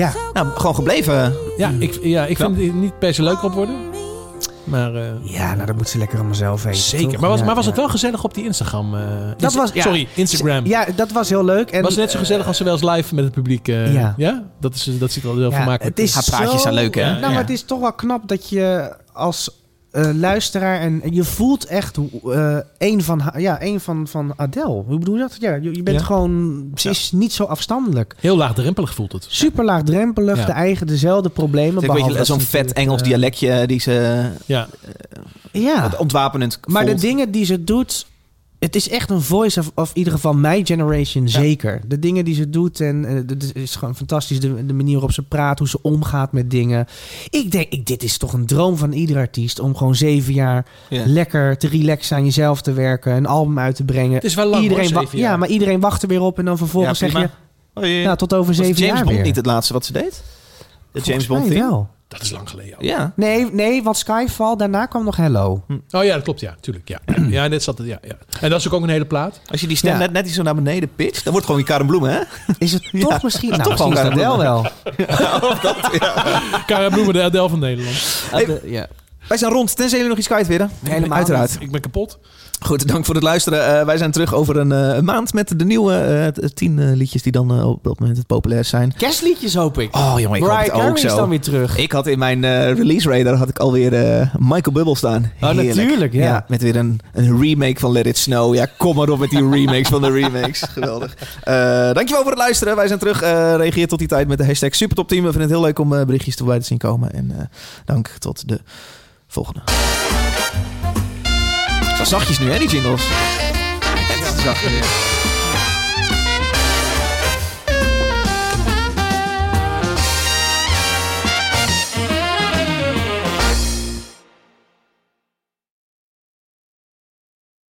S4: Ja.
S1: Nou, gewoon gebleven.
S2: Ja, ik, ja, ik vind het niet per se leuk op worden. Maar, eh,
S4: Ja, nou dat moet ze lekker aan mezelf weten.
S2: zeker.
S4: toch?
S2: Maar was,
S4: Ja,
S2: maar was
S4: ja.
S2: het wel gezellig op die Instagram? eh,
S4: Dat
S2: Insta-
S4: was, ja.
S2: Sorry, Instagram.
S4: Ja, dat was heel leuk. En, eh,
S2: was het net zo gezellig als ze wel eens live met het publiek. eh,
S4: Ja.
S2: ja. Dat, is, dat ziet er wel heel
S4: Ja,
S2: vermakelijk
S4: het is
S2: uit.
S4: zo- Nou, maar het is toch wel knap dat je als eh, luisteraar en en je voelt echt eh een van, ha- ja, een van, van Adele. Hoe bedoel je dat? Ja, je, je bent
S2: Ja.
S4: gewoon, ze is niet zo afstandelijk.
S2: Heel laagdrempelig voelt het.
S4: Super laagdrempelig,
S1: Ja.
S4: de eigen, dezelfde problemen.
S1: Een
S4: behalve
S1: beetje
S4: dat
S1: zo'n
S4: ze
S1: vet
S4: natuurlijk,
S1: Engels
S4: eh,
S1: dialectje die ze
S2: ja.
S4: ja.
S1: wat ontwapenend
S4: Maar
S1: voelt.
S4: de dingen die ze doet. Het is echt een voice of, of in ieder geval mijn generation zeker. De dingen die ze doet en eh, dat is- is gewoon fantastisch. De, de manier waarop ze praat, hoe ze omgaat met dingen. Ik denk, ik, dit is toch een droom van ieder artiest. Om gewoon zeven jaar
S1: Ja.
S4: lekker te relaxen aan jezelf te werken. Een album uit te brengen.
S2: Het is wel lang,
S4: iedereen
S2: hoor,
S4: wa-
S2: zeven
S4: Ja,
S2: jaar.
S4: maar iedereen wacht er weer op. En dan vervolgens
S1: Ja,
S4: zeg je,
S1: prima. Hoi.
S4: nou tot over
S1: Was
S4: zeven
S1: James
S4: jaar
S1: Bond
S4: weer.
S1: niet het laatste wat ze deed? De James Bond
S4: mij
S1: theme?
S4: wel.
S2: Dat is lang geleden. ook.
S1: Ja.
S4: Nee, nee, want Skyfall, daarna kwam nog Hello.
S2: Oh ja, dat klopt. Ja, tuurlijk. Ja, ja net zat het. Ja, ja. En dat is ook ook een hele plaat.
S1: Als je die stem
S2: Ja.
S1: net, net iets zo naar beneden pitcht, dan wordt gewoon je Karen Bloem, hè?
S4: Is het
S1: Ja.
S4: toch misschien...
S1: Ja,
S4: Nou,
S1: toch wel
S4: misschien is
S1: Karen
S4: Adele
S1: Bloemen.
S4: wel.
S2: Cara Bloemen, de Adele van Nederland.
S1: Hey, Wij zijn rond, tenzij jullie nog iets kwijt willen.
S4: Helemaal
S1: Uiteraard.
S2: Ik ben kapot.
S1: Goed, dank voor het luisteren. Eh, wij zijn terug over een eh, een maand met de nieuwe eh, t- tien eh, liedjes die dan eh, op dat moment het populair zijn.
S4: Kerstliedjes hoop ik.
S1: Oh jongen, ik hoop
S4: Mariah
S1: het
S4: Carey
S1: ook zo.
S4: is dan weer terug.
S1: Ik had in mijn eh, release radar had ik alweer eh, Michael Bubble staan.
S4: Oh,
S1: Heerlijk.
S4: natuurlijk, ja.
S1: Met weer een, een remake van Let It Snow. Ja, kom maar op met die remakes van de remakes. Geweldig. Eh, dankjewel voor het luisteren. Wij zijn terug. Eh, reageer tot die tijd met de hashtag SuperTopTeam. We vinden het heel leuk om eh, berichtjes voorbij te zien komen. En eh, dank tot de volgende. Zo zachtjes nu, hè, die jingles. Het is zachtjes.